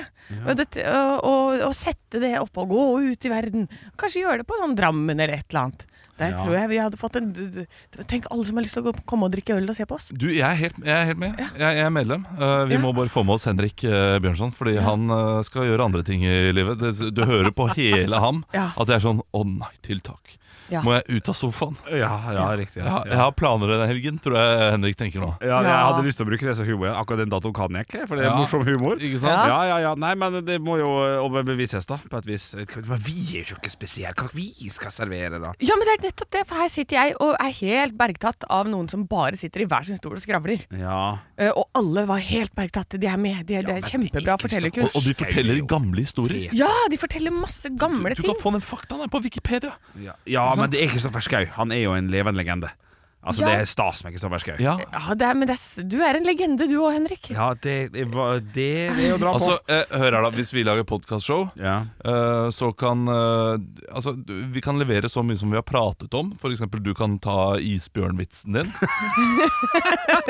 [SPEAKER 7] Og, det, og, og, og sette det opp og gå ut i verden. Kanskje gjøre det på sånn Drammen eller et eller annet. Der tror jeg vi hadde fått en d- d- Tenk alle som har lyst til å gå- komme og drikke øl og se på oss.
[SPEAKER 5] Du, jeg er helt, jeg er helt med. Jeg, jeg er medlem. Eh, vi
[SPEAKER 7] Ja.
[SPEAKER 5] må bare få med oss Henrik eh, Bjørnson, fordi han eh, skal gjøre andre ting i livet. Det, du hører på hele ham
[SPEAKER 7] Ja.
[SPEAKER 5] at jeg er sånn Å nei, tiltak.
[SPEAKER 7] Ja.
[SPEAKER 5] Må jeg ut av sofaen?
[SPEAKER 6] Ja, ja, riktig.
[SPEAKER 5] Jeg,
[SPEAKER 6] Ja,
[SPEAKER 5] har- jeg
[SPEAKER 6] ja.
[SPEAKER 5] har planer denne helgen, tror jeg Henrik tenker nå.
[SPEAKER 6] Ja, jeg
[SPEAKER 7] Ja.
[SPEAKER 6] hadde lyst til å bruke det som humor. Akkurat den datoen kan jeg ikke, for det er
[SPEAKER 5] Ja.
[SPEAKER 6] morsom humor.
[SPEAKER 5] Ikke
[SPEAKER 6] Ja.
[SPEAKER 5] sant?
[SPEAKER 6] ja, ja, Nei, men det må jo overbevises, da, på et vis. Men vi er jo ikke spesielle. Hva vi skal servere, da?
[SPEAKER 7] Ja, men det er nettopp det, for her sitter jeg og er helt bergtatt av noen som bare sitter i hver sin stol og skravler.
[SPEAKER 6] Ja.
[SPEAKER 7] Eh, Og alle var helt bergtatt. De er med. De er, det
[SPEAKER 6] men det
[SPEAKER 7] er
[SPEAKER 6] er
[SPEAKER 7] kjempebra
[SPEAKER 6] ikke
[SPEAKER 5] Og,
[SPEAKER 7] fortellerkunst.
[SPEAKER 5] og de forteller gamle historier.
[SPEAKER 7] Ja, de forteller masse gamle
[SPEAKER 5] Du
[SPEAKER 7] ting.
[SPEAKER 5] kan få den faktaen her på Wikipedia.
[SPEAKER 6] Ja, ja men det er Kristoffer Schau. Han er jo en levende legende. Altså,
[SPEAKER 7] Ja.
[SPEAKER 6] det er stas med Kristoffer Schau.
[SPEAKER 5] Ja,
[SPEAKER 7] Ja, det er, men det er, s- du er en legende du òg, Henrik.
[SPEAKER 6] Ja, det, det, var- det er å dra på.
[SPEAKER 5] altså, eh, hør her da, Hvis vi lager podkastshow,
[SPEAKER 6] ja.
[SPEAKER 5] eh, så kan eh, Altså, du- vi kan levere så mye som vi har pratet om. F.eks. du kan ta isbjørnvitsen din.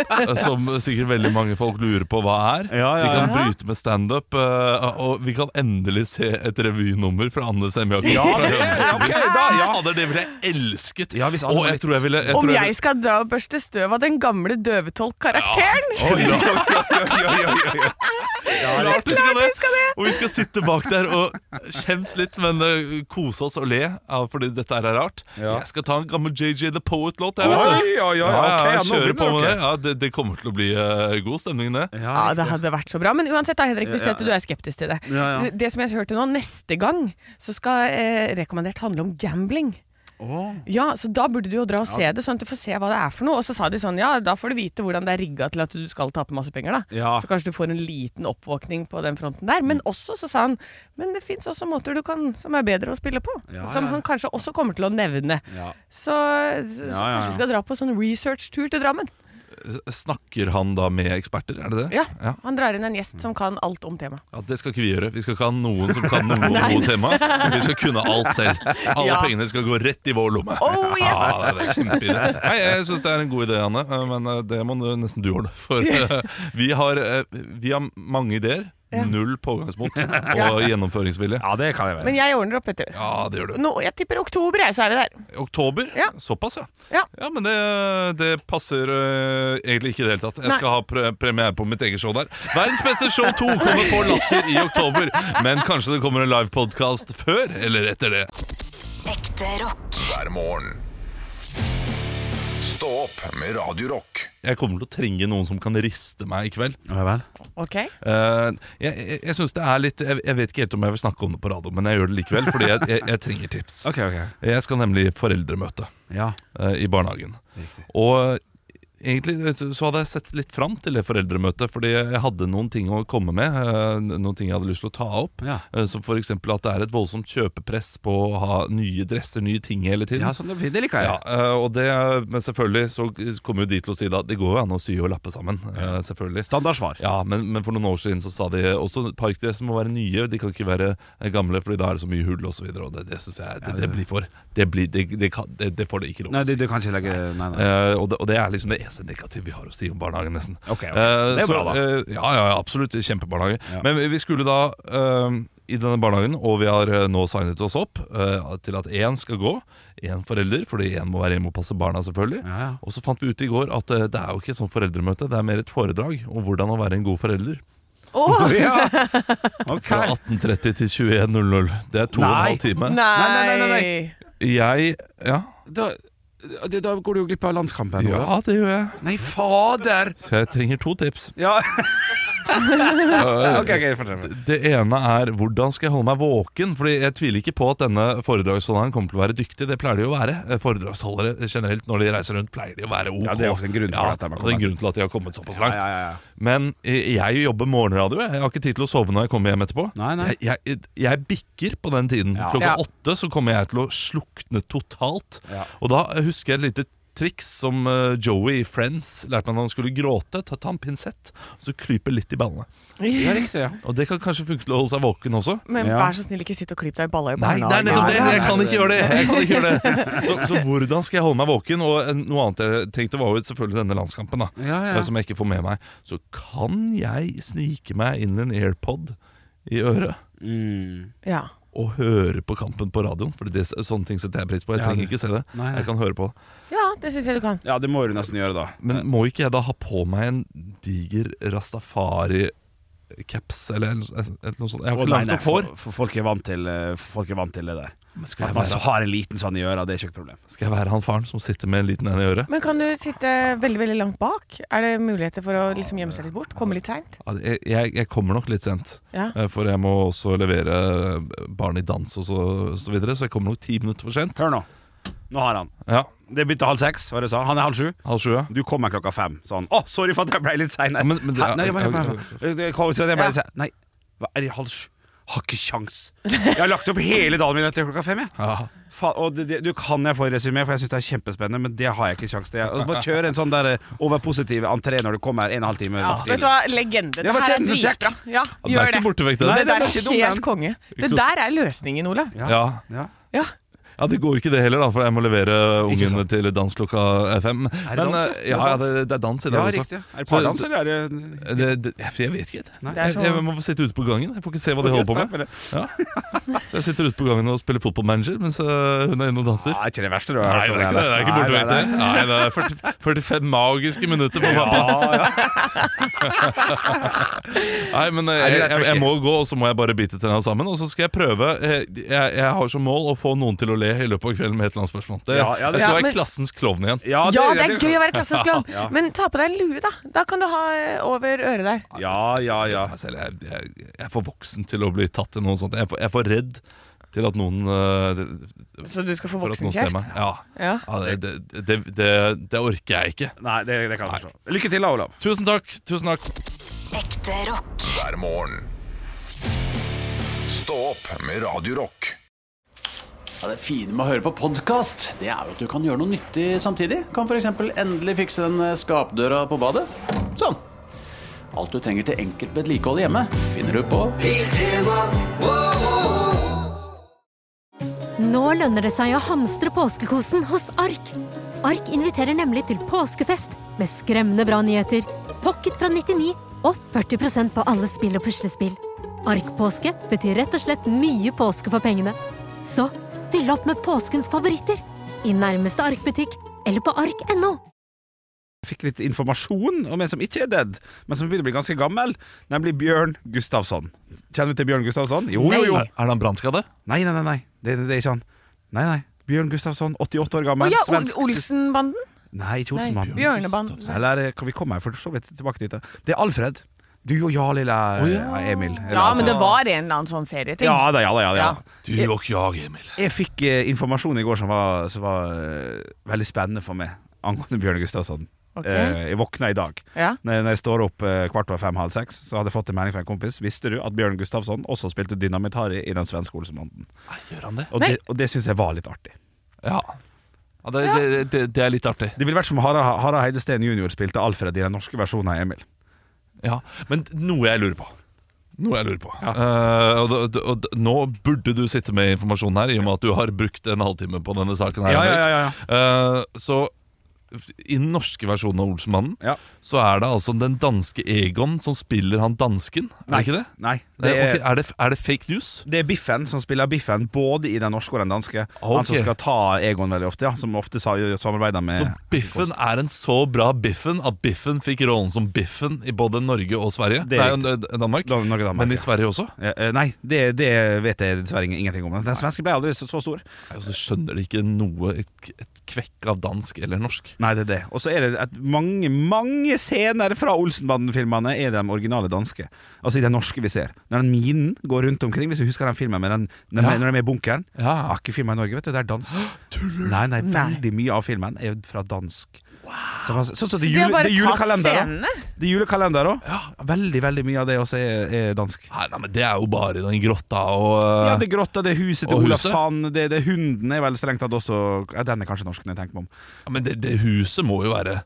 [SPEAKER 5] Eh, som sikkert veldig mange folk lurer på hva er.
[SPEAKER 6] Ja, ja,
[SPEAKER 5] vi kan
[SPEAKER 7] ja.
[SPEAKER 5] bryte med standup, eh, og vi kan endelig se et revynummer fra Anne Semjakis.
[SPEAKER 6] Ja, det, ja, ok, da, ja.
[SPEAKER 5] Fader, det ville jeg elsket!
[SPEAKER 6] Ja, hvis Anne
[SPEAKER 5] og
[SPEAKER 6] var
[SPEAKER 5] jeg
[SPEAKER 6] litt-
[SPEAKER 5] tror jeg ville jeg
[SPEAKER 7] Om
[SPEAKER 5] tror
[SPEAKER 7] jeg skal dra og børste støv av den gamle døvetolkkarakteren!
[SPEAKER 5] jeg ville, Oi, da.
[SPEAKER 6] Ja,
[SPEAKER 5] Klart vi skal
[SPEAKER 7] vi skal det.
[SPEAKER 5] Og vi skal sitte bak der og kjemse litt, men eh, kose oss og le, ja, fordi dette her er rart.
[SPEAKER 6] Ja.
[SPEAKER 5] Jeg skal ta en gammel JJ The Poet-låt, jeg,
[SPEAKER 6] Oi,
[SPEAKER 5] vet du.
[SPEAKER 6] oi, oi,
[SPEAKER 5] Ja, ja,
[SPEAKER 6] ok, ja,
[SPEAKER 5] jeg
[SPEAKER 6] nå
[SPEAKER 5] kjører på
[SPEAKER 6] begynner
[SPEAKER 5] med det.
[SPEAKER 6] dere.
[SPEAKER 5] Ja, det. Det kommer til å bli eh, god stemning, det.
[SPEAKER 7] Ja, det hadde vært så bra. Men uansett, da, Henrik, hvis
[SPEAKER 6] Ja, ja.
[SPEAKER 7] dette du er skeptisk til det.
[SPEAKER 6] Ja, ja.
[SPEAKER 7] Det som jeg hørte nå, neste gang så skal eh, rekommendert handle om gambling.
[SPEAKER 6] Åh.
[SPEAKER 7] Ja, så da burde du jo dra og se det, sånn at du får se hva det er for noe. Og så sa de sånn, ja, da får du vite hvordan det er rigga til at du skal tape masse penger, da.
[SPEAKER 6] Ja. Mm.
[SPEAKER 7] Så kanskje du får en liten oppvåkning på den fronten der. Men også, så sa han, men det fins også måter du kan som er bedre å spille på.
[SPEAKER 6] Ja,
[SPEAKER 7] som
[SPEAKER 6] ja.
[SPEAKER 7] han kanskje også kommer til å nevne.
[SPEAKER 6] Ja.
[SPEAKER 7] Så,
[SPEAKER 6] Ja, ja,
[SPEAKER 7] så, så
[SPEAKER 6] ja.
[SPEAKER 7] kanskje vi skal dra på sånn research-tur til Drammen.
[SPEAKER 5] det. Snakker han da med eksperter, er det det?
[SPEAKER 7] Ja.
[SPEAKER 5] Ja,
[SPEAKER 7] Han drar inn en gjest som kan alt om temaet.
[SPEAKER 5] Ja, Det skal ikke vi gjøre. Vi skal ikke ha noen som kan noe om noe tema. Vi skal kunne alt selv. Alle
[SPEAKER 7] Ja.
[SPEAKER 5] pengene skal gå rett i vår lomme.
[SPEAKER 7] Oh, yes!
[SPEAKER 5] Ja, det er kjempeidé. Nei, Jeg syns det er en god idé, Anne, eh, men eh, det må du- nesten du ordne. For eh, vi har, eh, vi har mange ideer,
[SPEAKER 7] Ja.
[SPEAKER 5] null pågangsmot og gjennomføringsvilje.
[SPEAKER 6] ja, det kan jeg være.
[SPEAKER 7] Men jeg ordner opp, vet du.
[SPEAKER 5] Ja, det gjør du.
[SPEAKER 7] Nå, jeg tipper oktober, jeg, så er vi der.
[SPEAKER 5] Oktober?
[SPEAKER 7] Ja.
[SPEAKER 5] Såpass, ja.
[SPEAKER 7] Ja.
[SPEAKER 5] Men det, det passer eh, egentlig ikke i det hele tatt. Jeg
[SPEAKER 7] Nei.
[SPEAKER 5] skal ha pre premiere på mitt eget show der. Verdens beste show 2 kommer på Latter i oktober. Men kanskje det kommer en livepodkast før eller etter det.
[SPEAKER 9] Ekte rock.
[SPEAKER 4] hver morgen. Stå opp med Radio Rock.
[SPEAKER 5] Jeg kommer til å trenge noen som kan riste meg i kveld.
[SPEAKER 6] Ja vel.
[SPEAKER 7] Ok.
[SPEAKER 5] Eh, jeg jeg, jeg synes det er litt jeg, jeg vet ikke helt om jeg vil snakke om det på radio, men jeg gjør det likevel, fordi jeg, jeg, jeg trenger tips.
[SPEAKER 6] Ok, ok.
[SPEAKER 5] Jeg skal nemlig i foreldremøte
[SPEAKER 6] Ja.
[SPEAKER 5] eh, i barnehagen. Og egentlig så så hadde jeg sett litt fram til det foreldremøtet, fordi jeg hadde noen ting å komme med. eh, Noen ting jeg hadde lyst til å ta opp.
[SPEAKER 6] Ja.
[SPEAKER 5] eh, Som f.eks. at det er et voldsomt kjøpepress på å ha nye dresser, nye ting hele tiden.
[SPEAKER 6] Ja, sånn, det liker jeg.
[SPEAKER 5] Ja, eh, og det, men selvfølgelig så kommer jo de til å si da Det går jo an å sy og lappe sammen. eh, Selvfølgelig.
[SPEAKER 6] Standardsvar.
[SPEAKER 5] Ja, men, men for noen år siden så sa de også parkdresser må være nye. De kan ikke være eh, gamle, Fordi da er det så mye hull osv. Det, det synes jeg det, det blir for Det, blir, det, det, kan, det, det får det ikke lov
[SPEAKER 6] Nei,
[SPEAKER 5] til.
[SPEAKER 6] du, du kan ikke legge Nei, nei.
[SPEAKER 5] Eh, og, det, og det er liksom det eneste negative vi har å si om barnehagen, nesten.
[SPEAKER 6] Ok, ok.
[SPEAKER 5] Eh,
[SPEAKER 6] Det er
[SPEAKER 5] så,
[SPEAKER 6] bra, da.
[SPEAKER 5] eh, ja, ja, ja, absolutt. Kjempebarnehage.
[SPEAKER 6] Ja.
[SPEAKER 5] Men vi skulle da eh, i denne barnehagen, og vi har eh, nå signet oss opp eh, til at én skal gå. Én forelder, fordi én må være hjemme og passe barna, selvfølgelig.
[SPEAKER 6] Ja, ja.
[SPEAKER 5] Og så fant vi ut i går at eh, det er jo ikke et sånt foreldremøte, det er mer et foredrag om hvordan å være en god forelder.
[SPEAKER 7] Åh,
[SPEAKER 6] Ja. Ok.
[SPEAKER 5] Fra 18.30 til 21.00. Det er to og en
[SPEAKER 6] Nei.
[SPEAKER 5] halv time.
[SPEAKER 7] nei.
[SPEAKER 6] nei, nei, nei.
[SPEAKER 5] Jeg Ja,
[SPEAKER 6] Da, det- da går du jo glipp av landskampen. nå, da.
[SPEAKER 5] ja det gjør jeg.
[SPEAKER 6] Nei, fader!
[SPEAKER 5] Så jeg trenger to tips.
[SPEAKER 6] Ja,
[SPEAKER 5] Uh,
[SPEAKER 6] ok, ok, fortsett.
[SPEAKER 5] Det ene er hvordan skal jeg holde meg våken? Fordi jeg tviler ikke på at denne foredragsholderen kommer til å være dyktig. Det pleier de jo å være. Eh, Foredragsholdere generelt når de reiser rundt, pleier de å være ok.
[SPEAKER 6] Ja, det er ofte en grunn for
[SPEAKER 5] Ja,
[SPEAKER 6] at de har
[SPEAKER 5] og det er en grunn til at de har kommet såpass
[SPEAKER 6] Ja,
[SPEAKER 5] langt.
[SPEAKER 6] ja, ja.
[SPEAKER 5] Men eh, jeg jobber morgenradio. jeg. Jeg har ikke tid til å sove når jeg kommer hjem etterpå.
[SPEAKER 6] Nei, nei.
[SPEAKER 5] Jeg, jeg, jeg bikker på den tiden.
[SPEAKER 6] Ja.
[SPEAKER 5] Klokka
[SPEAKER 7] Ja.
[SPEAKER 5] åtte så kommer jeg til å slukne totalt.
[SPEAKER 6] Ja.
[SPEAKER 5] Og da husker jeg et lite triks som eh, Joey i Friends lærte meg når han skulle gråte. Ta, ta en pinsett, så klype litt i ballene.
[SPEAKER 6] Ja, riktig, ja.
[SPEAKER 5] Og det kan kanskje funke til å holde seg våken også.
[SPEAKER 7] Men
[SPEAKER 6] Ja.
[SPEAKER 7] vær så snill, ikke sitt og klipp deg i balla i
[SPEAKER 5] Nei, det er nettopp det! Jeg
[SPEAKER 7] Nei, nei,
[SPEAKER 5] kan
[SPEAKER 7] nei.
[SPEAKER 5] ikke gjøre det! Jeg kan ikke gjøre det. Så, så hvordan skal jeg holde meg våken? Og eh, noe annet jeg tenkte var jo selvfølgelig denne landskampen, da.
[SPEAKER 6] Ja, ja.
[SPEAKER 5] eh, Som jeg ikke får med meg. Så kan jeg snike meg inn en AirPod i øret
[SPEAKER 6] Mm.
[SPEAKER 7] Ja.
[SPEAKER 5] og høre på kampen på radioen? For det, sånne ting setter jeg pris på. Jeg
[SPEAKER 6] Ja,
[SPEAKER 5] trenger
[SPEAKER 6] det-
[SPEAKER 5] ikke se det.
[SPEAKER 6] Nei, nei.
[SPEAKER 5] Jeg kan høre på.
[SPEAKER 7] ja, det syns jeg du kan.
[SPEAKER 6] ja, det må du nesten gjøre, da.
[SPEAKER 5] Men må ikke jeg da ha på meg en diger rastafari-caps eller, eller, eller noe sånt? Jeg har
[SPEAKER 6] Å,
[SPEAKER 5] ikke
[SPEAKER 6] nei,
[SPEAKER 5] langt
[SPEAKER 6] nei,
[SPEAKER 5] nok hår.
[SPEAKER 6] for, for folk, er vant til, eh, folk er vant til det der.
[SPEAKER 5] Men Skal
[SPEAKER 6] At
[SPEAKER 5] jeg,
[SPEAKER 6] man så
[SPEAKER 5] være,
[SPEAKER 6] har en liten sånn i øra, det er ikke noe problem.
[SPEAKER 5] skal jeg være han faren som sitter med en liten en i øret?
[SPEAKER 7] Men kan du sitte veldig veldig langt bak? Er det muligheter for å liksom gjemme seg litt bort? Komme litt seint?
[SPEAKER 5] Ja, Jeg, jeg, jeg kommer nok litt sent.
[SPEAKER 7] Ja.
[SPEAKER 5] Eh, For jeg må også levere eh, barn i dans og så, så videre, så jeg kommer nok ti minutter for sent.
[SPEAKER 6] Hør nå. Nå har han.
[SPEAKER 5] Ja,
[SPEAKER 6] Det begynte halv seks, hva det du sa. Han er halv sju.
[SPEAKER 5] halv sju. ja.
[SPEAKER 6] Du kommer klokka fem. Sånn. Å, sorry for at jeg ble litt sein.
[SPEAKER 5] Ja, men- men det-
[SPEAKER 6] Hæ? Nei, men- men- det kom- så jeg ble litt sein. Nei, hva er det halv sju? Har ikke kjangs. Jeg har lagt opp hele dagen min etter klokka fem, jeg.
[SPEAKER 5] Ja.
[SPEAKER 6] Fa og det, det, du kan jeg få et resymé, for jeg syns det er kjempespennende, men det har jeg ikke kjangs til. Jeg- altså, Bare kjøre en sånn der eh, overpositiv entré når du kommer en og en halv time.
[SPEAKER 7] Ja, vet du hva, legende.
[SPEAKER 6] Ja, men
[SPEAKER 7] Det her er
[SPEAKER 6] kjenn- kjenn-
[SPEAKER 7] dritbra. Ja,
[SPEAKER 5] Den er
[SPEAKER 7] gjør
[SPEAKER 5] ikke
[SPEAKER 7] det.
[SPEAKER 5] borte vekk,
[SPEAKER 6] Nei,
[SPEAKER 5] den.
[SPEAKER 6] den
[SPEAKER 7] Det der
[SPEAKER 6] er
[SPEAKER 7] er
[SPEAKER 6] ikke dum, den.
[SPEAKER 7] helt konge. Det der er løsningen, Olav.
[SPEAKER 5] Ja.
[SPEAKER 6] Ja.
[SPEAKER 7] Ja.
[SPEAKER 5] ja, det går ikke det heller, da, for jeg må levere ungen
[SPEAKER 6] sant.
[SPEAKER 5] til dans klokka eh, fem.
[SPEAKER 6] Er det
[SPEAKER 5] Men,
[SPEAKER 6] dans,
[SPEAKER 5] eh,
[SPEAKER 6] ja?
[SPEAKER 5] ja, ja,
[SPEAKER 6] Det er
[SPEAKER 5] det, det er
[SPEAKER 6] dans.
[SPEAKER 5] dans i dag
[SPEAKER 6] Ja,
[SPEAKER 5] også.
[SPEAKER 6] riktig. Er det
[SPEAKER 5] Så-
[SPEAKER 6] pardans, eller er det
[SPEAKER 5] Det, det, jeg, jeg vet ikke.
[SPEAKER 6] Nei.
[SPEAKER 7] Det er sånn-
[SPEAKER 5] Jeg,
[SPEAKER 7] så-
[SPEAKER 5] jeg må få sitte ute på gangen. Jeg får ikke se hva de holder på med. Ja. Så jeg sitter ute på gangen og spiller fotballmanager mens eh, hun er inne og danser.
[SPEAKER 6] Ja, er ikke det verste du har
[SPEAKER 5] Nei,
[SPEAKER 6] hørt om
[SPEAKER 5] det er ikke det. Det er ikke
[SPEAKER 6] Ah.
[SPEAKER 5] borte
[SPEAKER 6] Nei, nei,
[SPEAKER 5] vekk. Nei, det er 40, 45 magiske minutter på pappa. Nei, men eh, jeg,
[SPEAKER 6] Nei, det er
[SPEAKER 5] jeg, jeg
[SPEAKER 6] tricky.
[SPEAKER 5] må gå, og så må jeg bare bite tenna sammen. Og så skal jeg prøve eh, jeg, jeg har som mål å få noen til å le i løpet av kvelden med et eller annet spørsmål. Det,
[SPEAKER 6] Ja, ja, det-
[SPEAKER 5] jeg skal
[SPEAKER 7] Ja,
[SPEAKER 5] være
[SPEAKER 7] men-
[SPEAKER 5] klassens klovn igjen.
[SPEAKER 6] Ja,
[SPEAKER 7] Ja, det er gøy å være klassisk klovn.
[SPEAKER 6] Ja.
[SPEAKER 7] Men ta på deg en lue, da. Da kan du ha eh, over øret der.
[SPEAKER 6] Ja, ja, ja.
[SPEAKER 5] Jeg, selv, jeg, jeg, jeg er for voksen til å bli tatt til noe sånt. Jeg er for, jeg er for redd til at noen eh,
[SPEAKER 7] Så du skal få
[SPEAKER 5] For at noen ser meg.
[SPEAKER 7] voksenkjeft?
[SPEAKER 5] Ja.
[SPEAKER 7] Ja.
[SPEAKER 5] Ja, det, det, det, det, det orker jeg ikke.
[SPEAKER 6] Nei, det, det kan jeg forstå. Lykke til, da, Olav.
[SPEAKER 5] Tusen takk. Tusen takk.
[SPEAKER 9] Ekte rock.
[SPEAKER 4] hver morgen. Stå opp med Radio Rock.
[SPEAKER 1] Ja, det fine med å høre på podkast, det er jo at du kan gjøre noe nyttig samtidig. Kan f.eks. endelig fikse den eh, skapdøra på badet. Sånn. Alt du trenger til enkelt vedlikehold hjemme, finner du på
[SPEAKER 3] Nå lønner det seg å hamstre påskekosen hos Ark. Ark inviterer nemlig til påskefest med skremmende bra nyheter, pocket fra 99 og 40 på alle spill og puslespill. Ark-påske betyr rett og slett mye påske for pengene. Så fyll opp med påskens favoritter i nærmeste Ark-butikk eller på ark.no.
[SPEAKER 6] Jeg fikk litt informasjon om en som ikke er dead, men som begynner å bli ganske gammel, nemlig Bjørn Gustavsson. Kjenner du til Bjørn Gustavsson? Jo, jo, jo.
[SPEAKER 5] Er, er han brannskadde?
[SPEAKER 6] Nei, nei, nei. nei. Det, det, det er ikke han. Nei, nei. Bjørn Gustavsson, 88 år
[SPEAKER 7] Å
[SPEAKER 6] gammel.
[SPEAKER 7] ja, Ol-
[SPEAKER 6] svensk-
[SPEAKER 7] Olsenbanden?
[SPEAKER 6] Nei, ikke
[SPEAKER 7] Nei,
[SPEAKER 6] Olsenmannen.
[SPEAKER 7] Bjørnebanden.
[SPEAKER 6] Eller eh, kan vi komme her, for så vidt tilbake dit. da. Det er Alfred. Du og ja, lille eh, Emil. Eller
[SPEAKER 7] Ja, men
[SPEAKER 6] Alfred.
[SPEAKER 7] det var en eller annen sånn serieting.
[SPEAKER 6] ja da, ja da, ja da.
[SPEAKER 7] Ja.
[SPEAKER 6] Ja.
[SPEAKER 5] Du og jeg, Emil.
[SPEAKER 6] Jeg fikk eh, informasjon i går som var, som var eh, veldig spennende for meg angående Bjørn Gustavsson.
[SPEAKER 7] Ok.
[SPEAKER 6] Eh, jeg våkna i dag.
[SPEAKER 7] Ja.
[SPEAKER 6] Når når jeg står opp eh, kvart over fem-halv seks, så hadde jeg fått en melding fra en kompis. Visste du at Bjørn Gustafsson også spilte dynamitt-harry i den svenske Olsenbanden?
[SPEAKER 5] Gjør han det?
[SPEAKER 6] Og
[SPEAKER 7] Nei.
[SPEAKER 6] det, og det syns jeg var litt artig.
[SPEAKER 5] Ja. ja, det, det, det, det er litt artig.
[SPEAKER 6] Det ville vært som Harald Harald Heide Steen jr. spilte Alfred i den norske versjonen av Emil.
[SPEAKER 5] Ja. Men noe jeg lurer på. Noe jeg lurer på. Eh, og, d- d- og d- nå burde du sitte med informasjonen her, i og med at du har brukt en halvtime på denne saken. her
[SPEAKER 6] Ja, ja,
[SPEAKER 5] Henrik.
[SPEAKER 6] ja,
[SPEAKER 5] Eh, Så i den norske versjonen av Olsenmannen
[SPEAKER 6] Ja.
[SPEAKER 5] så er det altså den danske Egon som spiller han dansken. Er det ikke det?
[SPEAKER 6] Nei.
[SPEAKER 5] Det
[SPEAKER 6] Det
[SPEAKER 5] er,
[SPEAKER 6] er,
[SPEAKER 5] ok, er, det, er det fake news?
[SPEAKER 6] det er Biffen som spiller Biffen, både i den norske og den danske.
[SPEAKER 5] Ok.
[SPEAKER 6] Han som skal ta Egon veldig ofte, ja. Som ofte sa- samarbeider med
[SPEAKER 5] Så Biffen er en så bra Biffen at Biffen fikk rollen som Biffen i både Norge og Sverige.
[SPEAKER 6] Det
[SPEAKER 5] Nei,
[SPEAKER 6] er
[SPEAKER 5] Dan- Danmark.
[SPEAKER 6] Dan- Norge og Danmark,
[SPEAKER 5] Men
[SPEAKER 6] ja.
[SPEAKER 5] i Sverige også.
[SPEAKER 6] Ja, eh, Nei, det, det vet jeg dessverre ingen- ingenting om. Den svenske ble aldri så, så stor.
[SPEAKER 5] Og så altså, skjønner de ikke noe et, et kvekk av dansk eller norsk.
[SPEAKER 6] Nei, det er det. Og så er det at mange mange scener fra Olsenbanden-filmene er de originale danske. Altså i den norske vi ser. Når den minen går rundt omkring, hvis du husker den filmen med den, når,
[SPEAKER 5] Ja.
[SPEAKER 6] når de er i bunkeren.
[SPEAKER 5] Ja.
[SPEAKER 6] Jeg Har ikke filma i Norge, vet du. Det er dansk. Nei, nei, veldig mye av filmen er fra dansk. Så man- Sånn som det,
[SPEAKER 7] Så de har
[SPEAKER 6] jule,
[SPEAKER 7] bare
[SPEAKER 6] det er
[SPEAKER 7] tatt
[SPEAKER 6] julekalender, da.
[SPEAKER 7] scenene?
[SPEAKER 6] Det er julekalender òg. Veldig, veldig mye av det også er, er dansk.
[SPEAKER 5] Nei, nei, men Det er jo bare den grotta og
[SPEAKER 6] Ja, det er grotta, det er huset til
[SPEAKER 5] Og
[SPEAKER 6] Olav
[SPEAKER 5] huset?
[SPEAKER 6] Sand, det, det er hunden er vel strengt tatt også ja, Den er kanskje norsk, når jeg tenker meg om.
[SPEAKER 5] Ja, Men det, det huset må jo være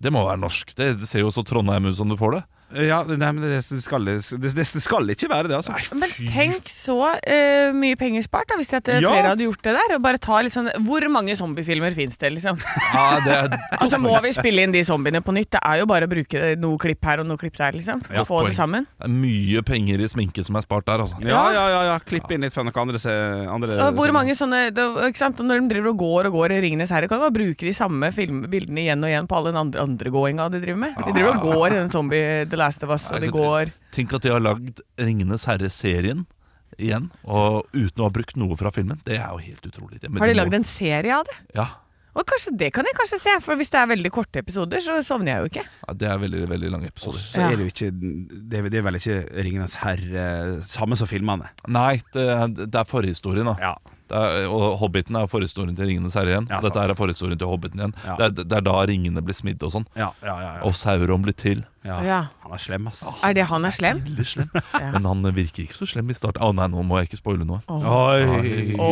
[SPEAKER 5] Det må være norsk. Det, det ser jo så Trondheim ut som du får det.
[SPEAKER 6] Ja, det- nei, men det, det, skal, det, det skal ikke være det, altså.
[SPEAKER 7] Men tenk så eh, mye penger spart da hvis at eh,
[SPEAKER 6] Ja.
[SPEAKER 7] flere hadde gjort det der. Og bare ta litt sånn, Hvor mange zombiefilmer fins det, liksom?
[SPEAKER 5] Ja, det er
[SPEAKER 7] Altså Må vi spille inn de zombiene på nytt? Det er jo bare å bruke noe klipp her og noe klipp der. liksom
[SPEAKER 5] Ja,
[SPEAKER 7] Få
[SPEAKER 5] poeng.
[SPEAKER 7] det sammen.
[SPEAKER 5] Det er mye penger i sminke som er spart der, altså.
[SPEAKER 6] Ja, ja, ja, ja. klipp inn litt fra noen andre, se, andre
[SPEAKER 7] Og
[SPEAKER 6] scener.
[SPEAKER 7] hvor mange sånne da, ikke sant? og Når de driver og går og går i Ringenes herre, kan de bare bruke de samme film, bildene igjen og igjen på all den andre, andre gåinga de driver
[SPEAKER 5] Ah.
[SPEAKER 7] med? De driver og går i den zombie The Last of Us, og de går
[SPEAKER 5] Tenk at de har lagd Ringenes herre-serien igjen, og uten å ha brukt noe fra filmen. Det er jo helt utrolig. Det, men
[SPEAKER 7] Har de
[SPEAKER 5] må-
[SPEAKER 7] lagd en serie av det?
[SPEAKER 5] Ja.
[SPEAKER 7] Og kanskje Det kan jeg kanskje se, for hvis det er veldig korte episoder, så sovner jeg jo ikke.
[SPEAKER 5] ja, det er veldig, veldig lange episoder.
[SPEAKER 6] Så er det jo ikke Det er, det er vel ikke 'Ringenes herre' samme som filmene.
[SPEAKER 5] Nei, det, er- det er forhistorien, da. Det er, og Hobbiten er forhistorien til Ringenes herre igjen.
[SPEAKER 6] Ja, sant.
[SPEAKER 5] Dette her er forhistorien til Hobbiten igjen.
[SPEAKER 6] Ja.
[SPEAKER 5] Det, er, det er da ringene blir smidd og sånn.
[SPEAKER 6] Ja, ja, ja, ja.
[SPEAKER 5] Og Sauron blir til.
[SPEAKER 6] ja.
[SPEAKER 7] Ja.
[SPEAKER 6] Han er slem, ass.
[SPEAKER 7] Er det han er slem?
[SPEAKER 5] Veldig slem.
[SPEAKER 7] Ja.
[SPEAKER 5] Men han virker ikke så slem i starten. Å nei, nå må jeg ikke spoile noe.
[SPEAKER 6] Oi.
[SPEAKER 7] Å,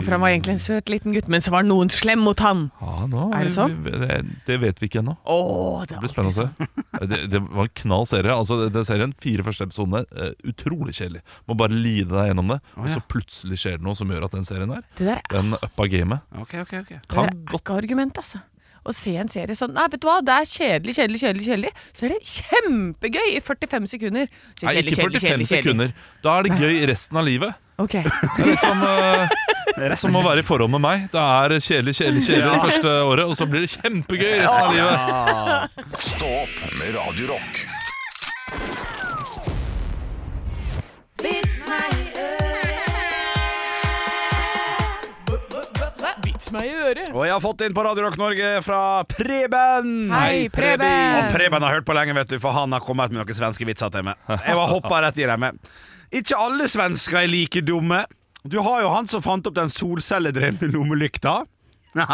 [SPEAKER 7] for han var egentlig en søt liten gutt, men så var noen slem mot han.
[SPEAKER 5] Ja, nå,
[SPEAKER 7] Er det sånn?
[SPEAKER 5] vi- Det, det vet vi ikke ennå.
[SPEAKER 7] Å, det
[SPEAKER 5] Det
[SPEAKER 7] var
[SPEAKER 5] blir spennende å
[SPEAKER 6] sånn.
[SPEAKER 5] se. Det, det var en knall serie. Altså, det- den serien, Fire første episodene, eh, utrolig kjedelig. Må bare lide deg gjennom det, og
[SPEAKER 6] ja.
[SPEAKER 5] så plutselig skjer det noe som gjør at den serien her,
[SPEAKER 7] Det der er
[SPEAKER 5] den uppa gamet.
[SPEAKER 6] Ok, ok, ok.
[SPEAKER 7] Det
[SPEAKER 5] Kan
[SPEAKER 7] er ikke argument, altså. Å se en serie sånn Nei, vet du hva, det er kjedelig, kjedelig, kjedelig. kjedelig Så er det kjempegøy i 45 sekunder. Så
[SPEAKER 5] Nei, ikke
[SPEAKER 7] kjedelig, kjedelig,
[SPEAKER 5] 45
[SPEAKER 7] kjedelig, kjedelig.
[SPEAKER 5] sekunder. Da er det gøy resten av livet.
[SPEAKER 7] Ok.
[SPEAKER 5] Det er litt som, eh, som å være i forhold med meg. Det er kjedelig, kjedelig, kjedelig det første året, og så blir det kjempegøy resten av livet.
[SPEAKER 4] Stå opp med Radio Rock.
[SPEAKER 7] Hva? Vits meg i øret.
[SPEAKER 6] Og jeg har fått inn på Radio Rock Norge fra Preben.
[SPEAKER 7] Hei,
[SPEAKER 6] Og
[SPEAKER 7] Preben.
[SPEAKER 6] Preben har hørt på lenge, vet du, for han har kommet med noen svenske vitser til meg. Jeg var hoppa rett i dem. Ikke alle svensker er like dumme. Du har jo han som fant opp den solcelledrevne lommelykta. Det går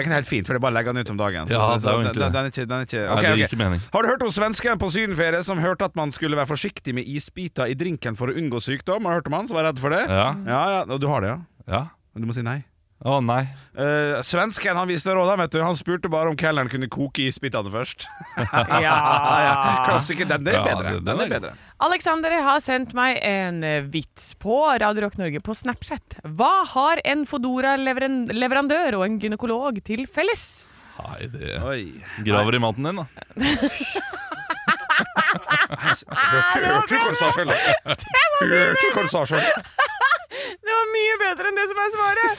[SPEAKER 6] egentlig helt fint, for det er bare å legge den ut om dagen. Så
[SPEAKER 5] Ja, det er jo
[SPEAKER 6] den-
[SPEAKER 5] egentlig det.
[SPEAKER 6] den, den er ikke, den er
[SPEAKER 5] Nei,
[SPEAKER 6] ikke,
[SPEAKER 5] det
[SPEAKER 6] Ok,
[SPEAKER 5] gir
[SPEAKER 6] ok.
[SPEAKER 5] ikke mening.
[SPEAKER 6] Har du hørt om svensken på sydenferie som hørte at man skulle være forsiktig med isbiter i drinken for å unngå sykdom? Har du hørt om han som var redd for det?
[SPEAKER 5] Ja.
[SPEAKER 6] ja, ja. og Du har det, ja?
[SPEAKER 5] Ja.
[SPEAKER 6] Men du må si nei.
[SPEAKER 5] Å nei.
[SPEAKER 6] Eh, svensken han viste råd, han, vet du. Han spurte bare om kelneren kunne koke isbitene først.
[SPEAKER 7] Ja.
[SPEAKER 6] Klassiker. Den er
[SPEAKER 5] Ja,
[SPEAKER 6] bedre.
[SPEAKER 5] den- den
[SPEAKER 6] Den
[SPEAKER 5] er
[SPEAKER 6] er bedre.
[SPEAKER 7] Alexander har sendt meg en eh, vits på Radio Rock Norge på Snapchat. Hva har en Fodora-leverandør og en gynekolog til felles?
[SPEAKER 5] Nei, det
[SPEAKER 6] Oi.
[SPEAKER 5] graver i maten din, da.
[SPEAKER 6] Hørte du hva han sa sjøl? Hørte du hva han sa sjøl?
[SPEAKER 7] Det var mye bedre enn det som er svaret.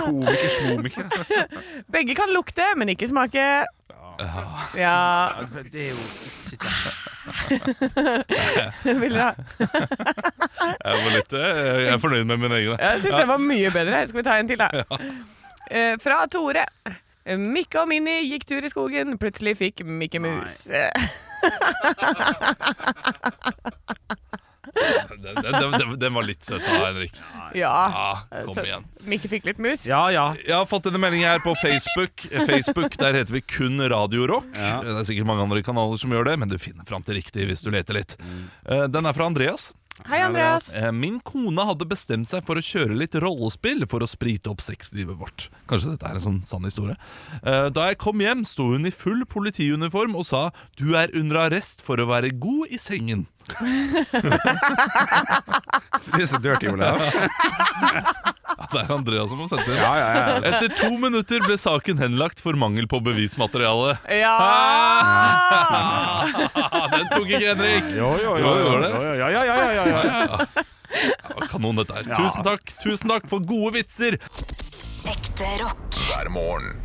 [SPEAKER 6] Komiker, smomiker. altså.
[SPEAKER 7] Begge kan lukte, men ikke smake. Ja,
[SPEAKER 6] Det er jo
[SPEAKER 7] vil dere ha?
[SPEAKER 5] Jeg, var litt, eh, jeg er fornøyd med min egen.
[SPEAKER 7] Jeg syns det var mye bedre. Skal vi ta en til, da? Eh, Fra Tore. Mikke og Minni gikk tur i skogen. Plutselig fikk Mikke mus.
[SPEAKER 5] Det den, den, den, den var litt søt av Henrik.
[SPEAKER 7] Ja.
[SPEAKER 5] Ja, Ah, kom
[SPEAKER 7] Så-
[SPEAKER 5] igjen.
[SPEAKER 7] Mikke fikk litt mus.
[SPEAKER 6] Ja, ja.
[SPEAKER 5] Jeg har fått denne meldingen her på Facebook. Facebook, Der heter vi kun Radio Rock. Det er sikkert mange andre kanaler som gjør det, men du finner fram til riktig hvis du leter litt. Eh, Den er fra Andreas.
[SPEAKER 7] Hei, Andreas.
[SPEAKER 5] Eh, Min kone hadde bestemt seg for å kjøre litt rollespill for å sprite opp sexlivet vårt. Kanskje dette er en sånn sann historie. Eh, Da jeg kom hjem, sto hun i full politiuniform og sa 'du er under arrest for å være god i sengen'.
[SPEAKER 6] Det er så dirty, Ole.
[SPEAKER 5] Ja, Det er Andreas som har sendt det.
[SPEAKER 6] Ja, ja, ja.
[SPEAKER 5] Etter to minutter ble saken henlagt for mangel på bevismateriale.
[SPEAKER 7] Ja!
[SPEAKER 5] Den tok ikke Henrik!
[SPEAKER 6] Jo, jo, jo.
[SPEAKER 5] Jo,
[SPEAKER 6] jo,
[SPEAKER 5] gjorde det.
[SPEAKER 6] jo, jo, ja, ja, ja, ja, ja.
[SPEAKER 5] Ja, Kanon, dette her. Tusen takk tusen takk for gode vitser!
[SPEAKER 9] Ekte rock.
[SPEAKER 4] hver morgen.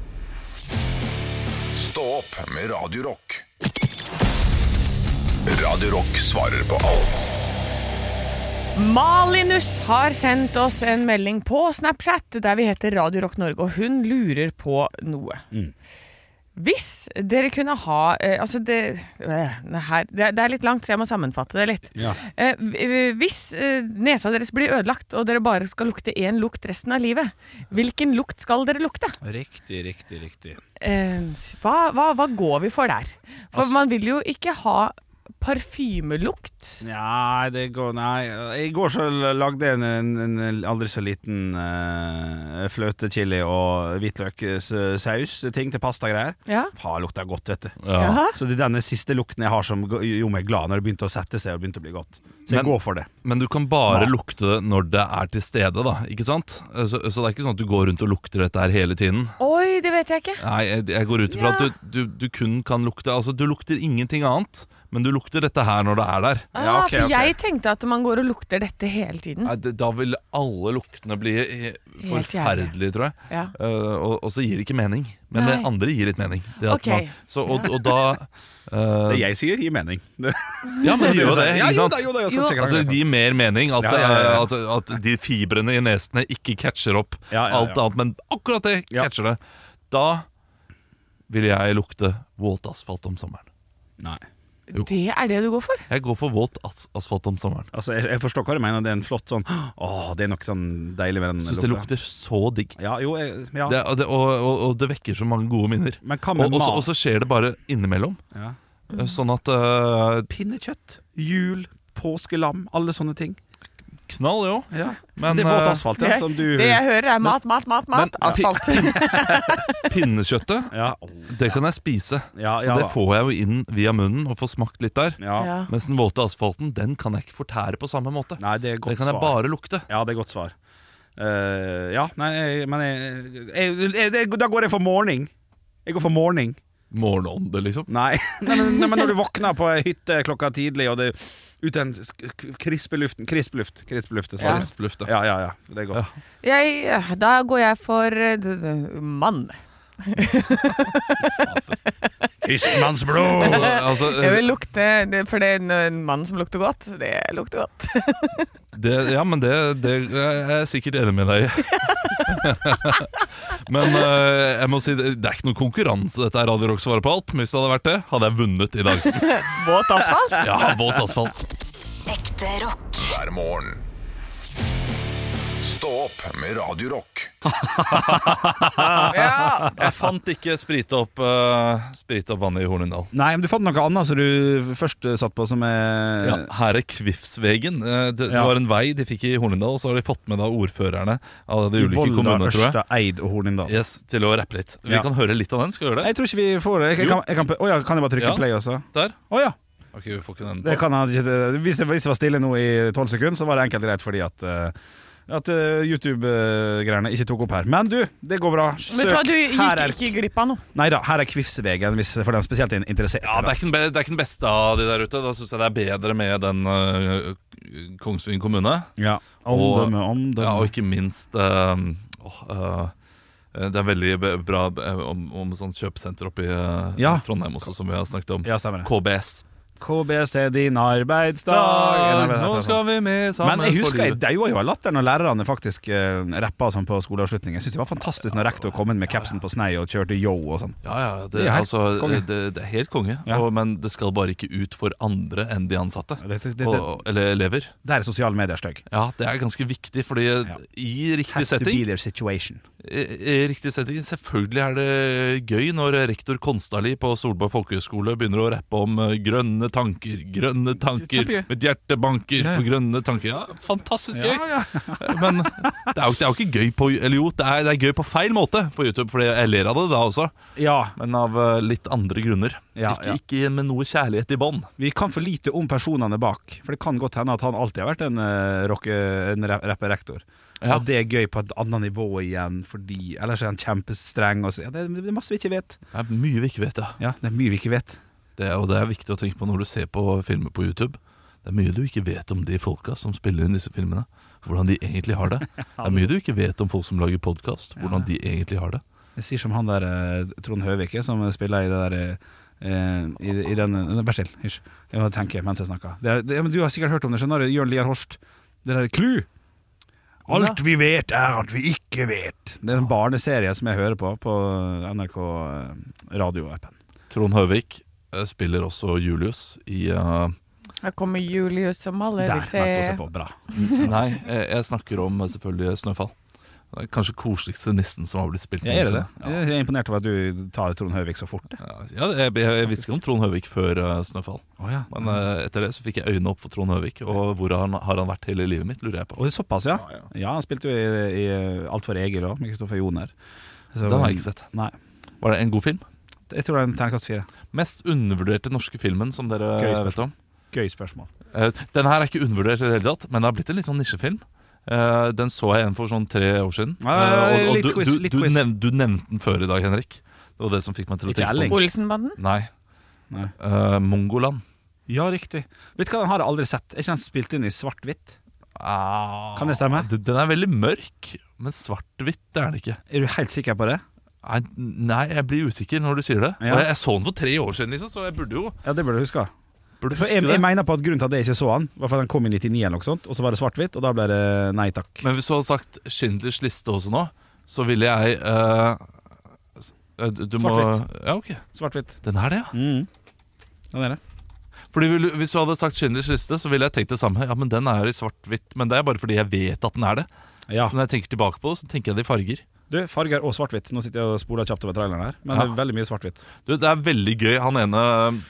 [SPEAKER 4] Stå opp med Radio Rock. Radio Rock svarer på alt
[SPEAKER 7] Malinus har sendt oss en melding på Snapchat, der vi heter Radio Rock Norge, og hun lurer på noe. Hvis dere kunne ha eh, Altså, det, øh, det, her, det, det er litt langt, så jeg må sammenfatte det litt.
[SPEAKER 6] Ja.
[SPEAKER 7] Eh, v- hvis eh, nesa deres blir ødelagt, og dere bare skal lukte én lukt resten av livet, hvilken lukt skal dere lukte?
[SPEAKER 6] Riktig, riktig, riktig.
[SPEAKER 7] Eh, hva, hva, hva går vi for der? For man vil jo ikke ha parfymelukt.
[SPEAKER 6] Nei, det går, nei. I går så lagde jeg en, en, en aldri så liten uh, fløtechili og hvitløkssaus-ting til pastagreier.
[SPEAKER 7] Ja.
[SPEAKER 6] Faen, lukta godt, vet du.
[SPEAKER 7] Jaha.
[SPEAKER 6] Så det er denne siste lukten jeg har som ga- gjorde meg glad når det begynte å sette seg og begynte å bli godt. Så jeg
[SPEAKER 5] Men-
[SPEAKER 6] går for det.
[SPEAKER 5] Men du kan bare
[SPEAKER 6] Nei.
[SPEAKER 5] lukte det når det er til stede, da. Ikke sant? Så, så det er ikke sånn at du går rundt og lukter dette her hele tiden.
[SPEAKER 7] Oi, det vet jeg ikke.
[SPEAKER 5] Nei, jeg, jeg går ut ifra
[SPEAKER 7] Ja.
[SPEAKER 5] at du, du, du kun kan lukte Altså, du lukter ingenting annet, men du lukter dette her når det er der.
[SPEAKER 7] Ah,
[SPEAKER 6] Ja, ok,
[SPEAKER 7] for
[SPEAKER 6] ok.
[SPEAKER 7] jeg tenkte at man går og lukter dette hele tiden.
[SPEAKER 5] Nei, det, da vil alle luktene bli eh,
[SPEAKER 7] Helt jævlig.
[SPEAKER 5] forferdelige, tror jeg.
[SPEAKER 7] Ja.
[SPEAKER 5] Eh, og, og så gir det ikke mening. Men det
[SPEAKER 7] Nei.
[SPEAKER 5] andre gir litt mening. Det at
[SPEAKER 7] Ok.
[SPEAKER 5] man, så, og, og da eh,
[SPEAKER 6] Det jeg sier, gir mening.
[SPEAKER 5] Ja, men det gjør det,
[SPEAKER 6] Ja,
[SPEAKER 5] ikke
[SPEAKER 6] jo
[SPEAKER 5] sant?
[SPEAKER 6] da, jo da, jo,
[SPEAKER 7] Jo.
[SPEAKER 6] så sjekker jeg
[SPEAKER 5] Altså,
[SPEAKER 6] det.
[SPEAKER 5] det gir mer mening at,
[SPEAKER 6] Ja, ja, ja, ja.
[SPEAKER 5] eh, At, at de fibrene i nesene ikke catcher opp
[SPEAKER 6] Ja, ja, ja.
[SPEAKER 5] alt annet, men akkurat det
[SPEAKER 6] Ja.
[SPEAKER 5] catcher det. Da vil jeg lukte våt asfalt om sommeren.
[SPEAKER 6] Nei.
[SPEAKER 7] Det er det du går for?
[SPEAKER 5] Jeg går for våt as asfalt om sommeren.
[SPEAKER 6] Altså, jeg, jeg forstår hva du mener. Det er en flott sånn Åh, det er noe sånn deilig med den
[SPEAKER 5] Syns det lukter så digg.
[SPEAKER 6] Ja, jo, jeg, ja.
[SPEAKER 5] Det, og, det, og, og, og det vekker så mange gode minner.
[SPEAKER 6] Men hva
[SPEAKER 5] Og,
[SPEAKER 6] med
[SPEAKER 5] og, så,
[SPEAKER 6] mat?
[SPEAKER 5] og så skjer det bare innimellom.
[SPEAKER 6] Ja.
[SPEAKER 5] Sånn at eh,
[SPEAKER 6] Pinnekjøtt, jul, påskelam, alle sånne ting.
[SPEAKER 5] Knall, jo.
[SPEAKER 6] Ja.
[SPEAKER 5] Men
[SPEAKER 6] det er våt
[SPEAKER 5] eh,
[SPEAKER 6] asfalt,
[SPEAKER 7] Det,
[SPEAKER 6] ja, som du
[SPEAKER 7] det jeg hører er mat, mat, mat, mat.
[SPEAKER 5] Men-
[SPEAKER 7] asfalt.
[SPEAKER 5] pinnekjøttet,
[SPEAKER 6] ja.
[SPEAKER 5] det kan jeg spise.
[SPEAKER 6] Ja,
[SPEAKER 5] Så
[SPEAKER 6] ja,
[SPEAKER 5] det får jeg jo inn via munnen og får smakt litt der.
[SPEAKER 6] ja.
[SPEAKER 7] Ja.
[SPEAKER 5] Mens den våte asfalten den kan jeg ikke fortære på samme måte.
[SPEAKER 6] Nei, det er godt
[SPEAKER 5] det kan jeg
[SPEAKER 6] svar.
[SPEAKER 5] bare lukte.
[SPEAKER 6] Ja, det er godt svar. Eh, ja, nei, jeg- men jeg, jeg, jeg, jeg, Da går jeg for morning. Jeg går for morning.
[SPEAKER 5] Morgenånde, liksom.
[SPEAKER 6] Nei, nei, men, nei men når du våkner på ei hytte klokka tidlig, og det ut den sk- k- krispe luften Krisp luft. Krisp luft det svarer.
[SPEAKER 5] Crisp luft, ja.
[SPEAKER 6] Ja, ja, ja. Det er godt.
[SPEAKER 7] Jeg, eh, da går jeg for eh, d- d- mann.
[SPEAKER 6] Kristenmannsblod!
[SPEAKER 5] Altså, altså,
[SPEAKER 7] Jeg vil lukte det- For det er en- en mann som lukter godt, det lukter godt.
[SPEAKER 5] det, ja, men det, det er jeg sikkert enig med deg i. Men eh, jeg må si det det er ikke noen konkurranse, dette er Radio Rock svarer på alt. Men hvis det hadde vært det, hadde jeg vunnet i dag.
[SPEAKER 7] Våt asfalt.
[SPEAKER 5] Ja, våt asfalt.
[SPEAKER 9] Ekte rock.
[SPEAKER 4] hver morgen. Stå opp med Radio Rock.
[SPEAKER 7] Ja.
[SPEAKER 5] Jeg fant ikke sprite opp, eh, sprite opp vannet i Hornindal.
[SPEAKER 6] Nei, men du fant noe annet som du først eh, satt på som er
[SPEAKER 5] Ja, her er Kvifsvegen. Eh, Det, det
[SPEAKER 6] Ja.
[SPEAKER 5] var en vei de fikk i Hornindal, og så har de fått med da ordførerne av de ulike
[SPEAKER 6] Volda,
[SPEAKER 5] kommunene, tror jeg.
[SPEAKER 6] Ørsta, Eid og Hornindal.
[SPEAKER 5] Yes, til å rappe litt. Vi
[SPEAKER 6] Ja.
[SPEAKER 5] kan høre litt av den. Skal vi gjøre det?
[SPEAKER 6] Jeg tror ikke vi får det. Jeg, jeg,
[SPEAKER 5] Jo.
[SPEAKER 6] kan, jeg kan, å ja, kan jeg bare trykke
[SPEAKER 5] Ja.
[SPEAKER 6] play også?
[SPEAKER 5] Der.
[SPEAKER 6] Å ja.
[SPEAKER 5] Ok, vi får ikke den
[SPEAKER 6] Det kan han ikke Hvis det, hvis det var stille nå i tolv sekunder, så var det enkelt greit fordi at eh, at eh, YouTube-greiene ikke tok opp her. Men du, det går bra.
[SPEAKER 7] Men tror jeg du
[SPEAKER 6] Her
[SPEAKER 7] gikk
[SPEAKER 6] er,
[SPEAKER 7] ikke glipp av noe.
[SPEAKER 6] neida, her er Kvifsvegen, hvis, for den spesielt er interessert.
[SPEAKER 5] Ja, det er, ikke den be det er ikke den beste av de der ute. Da syns jeg det er bedre med den øh, Kongsvinger kommune.
[SPEAKER 6] ja.
[SPEAKER 5] Og-
[SPEAKER 6] Omdømme, omdømme.
[SPEAKER 5] Ja, og ikke minst øh, åh, øh, Det er veldig be- bra øh, om, om sånn kjøpesenter oppe i øh,
[SPEAKER 6] Ja.
[SPEAKER 5] Trondheim også, som vi har snakket om.
[SPEAKER 6] Ja, stemmer det.
[SPEAKER 5] KBS.
[SPEAKER 6] KBC, din arbeidsdag
[SPEAKER 5] Dag,
[SPEAKER 6] Eller,
[SPEAKER 5] nå
[SPEAKER 6] eller,
[SPEAKER 5] skal vi med sammen
[SPEAKER 6] Men jeg
[SPEAKER 5] for
[SPEAKER 6] husker jeg
[SPEAKER 5] livet.
[SPEAKER 6] daua jo av latter når lærerne faktisk uh, rappa sånn på skoleavslutning. Jeg synes det var fantastisk når rektor kom inn med capsen på snei og kjørte yo og sånn.
[SPEAKER 5] Ja, ja, det,
[SPEAKER 6] Det er helt
[SPEAKER 5] altså,
[SPEAKER 6] konge.
[SPEAKER 5] Det, det er helt konge,
[SPEAKER 6] Ja.
[SPEAKER 5] og, men det skal bare ikke ut for andre enn de ansatte.
[SPEAKER 6] Det, det, det,
[SPEAKER 5] og, eller elever.
[SPEAKER 6] der er sosiale medier stygg.
[SPEAKER 5] Ja, det er ganske viktig, fordi i riktig
[SPEAKER 6] Has to
[SPEAKER 5] setting
[SPEAKER 6] be their
[SPEAKER 5] i,
[SPEAKER 6] situation.
[SPEAKER 5] i Eh, riktig setting, Selvfølgelig er det gøy når rektor Konstali på Solberg folkehøgskole begynner å rappe om eh, grønne tanker, grønne tanker,
[SPEAKER 6] Kjempegøy.
[SPEAKER 5] mitt hjerte banker
[SPEAKER 6] Ja, ja.
[SPEAKER 5] for grønne tanker. Ja, Fantastisk gøy!
[SPEAKER 6] Ja, ja.
[SPEAKER 5] Men det er jo, det er jo ikke gøy på Eller jo, det er, det er gøy på feil måte på YouTube, for jeg ler av det da også.
[SPEAKER 6] ja,
[SPEAKER 5] Men av eh, litt andre grunner.
[SPEAKER 6] Ja,
[SPEAKER 5] ikke, ikke med noe kjærlighet i bånd.
[SPEAKER 6] vi kan for lite om personene bak. For det kan godt hende at han alltid har vært en, uh, rock, en ra- rapperektor.
[SPEAKER 5] Ja.
[SPEAKER 6] Og det er gøy på et annet nivå igjen, fordi ellers er han kjempestreng. Og så, ja, det, det er masse vi ikke vet.
[SPEAKER 5] Det er mye vi ikke vet, ja.
[SPEAKER 6] Ja, det er mye vi ikke vet.
[SPEAKER 5] Det er, og det er viktig å tenke på når du ser på filmer på YouTube. Det er mye du ikke vet om de folka som spiller inn disse filmene. Hvordan de egentlig har det. Det er mye du ikke vet om folk som lager podkast. Hvordan de egentlig har det.
[SPEAKER 6] Jeg sier som han der eh, Trond Høvike som spiller i det der eh, i, I den eh, Vær still, hysj. Jeg må tenke mens jeg snakker. Det, er- det, men du har sikkert hørt om det, skjønner du? Jørn Lier Horst. Det der Clou. Alt vi vet, er at vi ikke vet. Det er en barneserie som jeg hører på på NRK eh, radioappen.
[SPEAKER 5] Trond Høvik eh, spiller også Julius i eh,
[SPEAKER 7] Her kommer Julius som alle
[SPEAKER 6] Der
[SPEAKER 7] vil
[SPEAKER 6] meldte jeg
[SPEAKER 7] se.
[SPEAKER 6] også på. Bra.
[SPEAKER 5] Nei, eh, jeg snakker om eh, selvfølgelig Snøfall. Det er kanskje koseligste nissen som har blitt spilt.
[SPEAKER 6] Ja, er det det?
[SPEAKER 5] noensinne. Ja.
[SPEAKER 6] Jeg er imponert over at du tar Trond Høvik så fort.
[SPEAKER 5] Ja, det- jeg, jeg, jeg visste ikke om Trond Høvik før eh, Snøfall.
[SPEAKER 6] Oh, ja.
[SPEAKER 5] Men eh, etter det så fikk jeg øynene opp for Trond Høvik, og hvor han, har han vært hele livet mitt, lurer jeg på.
[SPEAKER 6] Og det er såpass, ja? Ja, han spilte jo i, i Alt for Egil òg, med Kristoffer Joner. Så-
[SPEAKER 5] Den har jeg ikke sett.
[SPEAKER 6] Nei.
[SPEAKER 5] Var det en god film?
[SPEAKER 6] Jeg tror det er en terningkast fire.
[SPEAKER 5] Mest undervurderte norske filmen som dere
[SPEAKER 6] Gøy spørsmål.
[SPEAKER 5] vet om?
[SPEAKER 6] Gøy spørsmål.
[SPEAKER 5] Eh, Den her er ikke undervurdert i det hele tatt, men det har blitt en litt sånn nisjefilm. Eh, Den så jeg igjen for sånn tre år siden.
[SPEAKER 6] Ja,
[SPEAKER 5] Eh,
[SPEAKER 6] litt
[SPEAKER 5] du,
[SPEAKER 6] quiz,
[SPEAKER 5] du,
[SPEAKER 6] litt
[SPEAKER 5] du,
[SPEAKER 6] quiz.
[SPEAKER 5] nev- du nevnte den før i dag, Henrik. Det var det som fikk meg til å
[SPEAKER 6] Ikke
[SPEAKER 5] tenke
[SPEAKER 6] Erling.
[SPEAKER 5] på den.
[SPEAKER 7] Olsenbanden?
[SPEAKER 5] Nei.
[SPEAKER 6] Nei.
[SPEAKER 5] Eh, Mongoland.
[SPEAKER 6] Ja, riktig. Vet du hva, den har jeg aldri sett. Er ikke den spilt inn i svart-hvitt? Kan det stemme?
[SPEAKER 5] Ah, Den den er veldig mørk, men svart-hvitt er den ikke.
[SPEAKER 6] Er du helt sikker på det?
[SPEAKER 5] Nei, Nei, jeg blir usikker når du sier det.
[SPEAKER 6] Ja.
[SPEAKER 5] Og Jeg, jeg så den for tre år siden, liksom, så jeg burde jo
[SPEAKER 6] Ja, det burde du huske.
[SPEAKER 5] burde
[SPEAKER 6] For
[SPEAKER 5] huske
[SPEAKER 6] jeg,
[SPEAKER 5] det.
[SPEAKER 6] jeg mener på at grunnen til at jeg ikke så han, var for at den kom i 99 eller noe sånt, og så var det svart-hvitt, og da ble det nei takk.
[SPEAKER 5] Men hvis du hadde sagt Schindlers liste også nå, så ville jeg eh, s- eh, du, du må,
[SPEAKER 6] Svart-hvitt.
[SPEAKER 5] ja, ok.
[SPEAKER 6] Svart-hvitt.
[SPEAKER 5] Den er det, ja.
[SPEAKER 6] Mm. Den er det.
[SPEAKER 5] Fordi vil, du- Hvis du hadde sagt Schindlers liste, så ville jeg tenkt det samme. Ja, men Den er i svart-hvitt, men det er bare fordi jeg vet at den er det.
[SPEAKER 6] Ja.
[SPEAKER 5] Så når jeg tenker tilbake på det, så tenker jeg det i farger.
[SPEAKER 6] Du, farger og svart-hvitt. Nå sitter jeg og spoler kjapt over traileren her, men det er veldig mye svart-hvitt.
[SPEAKER 5] Du, Det er veldig gøy. Han ene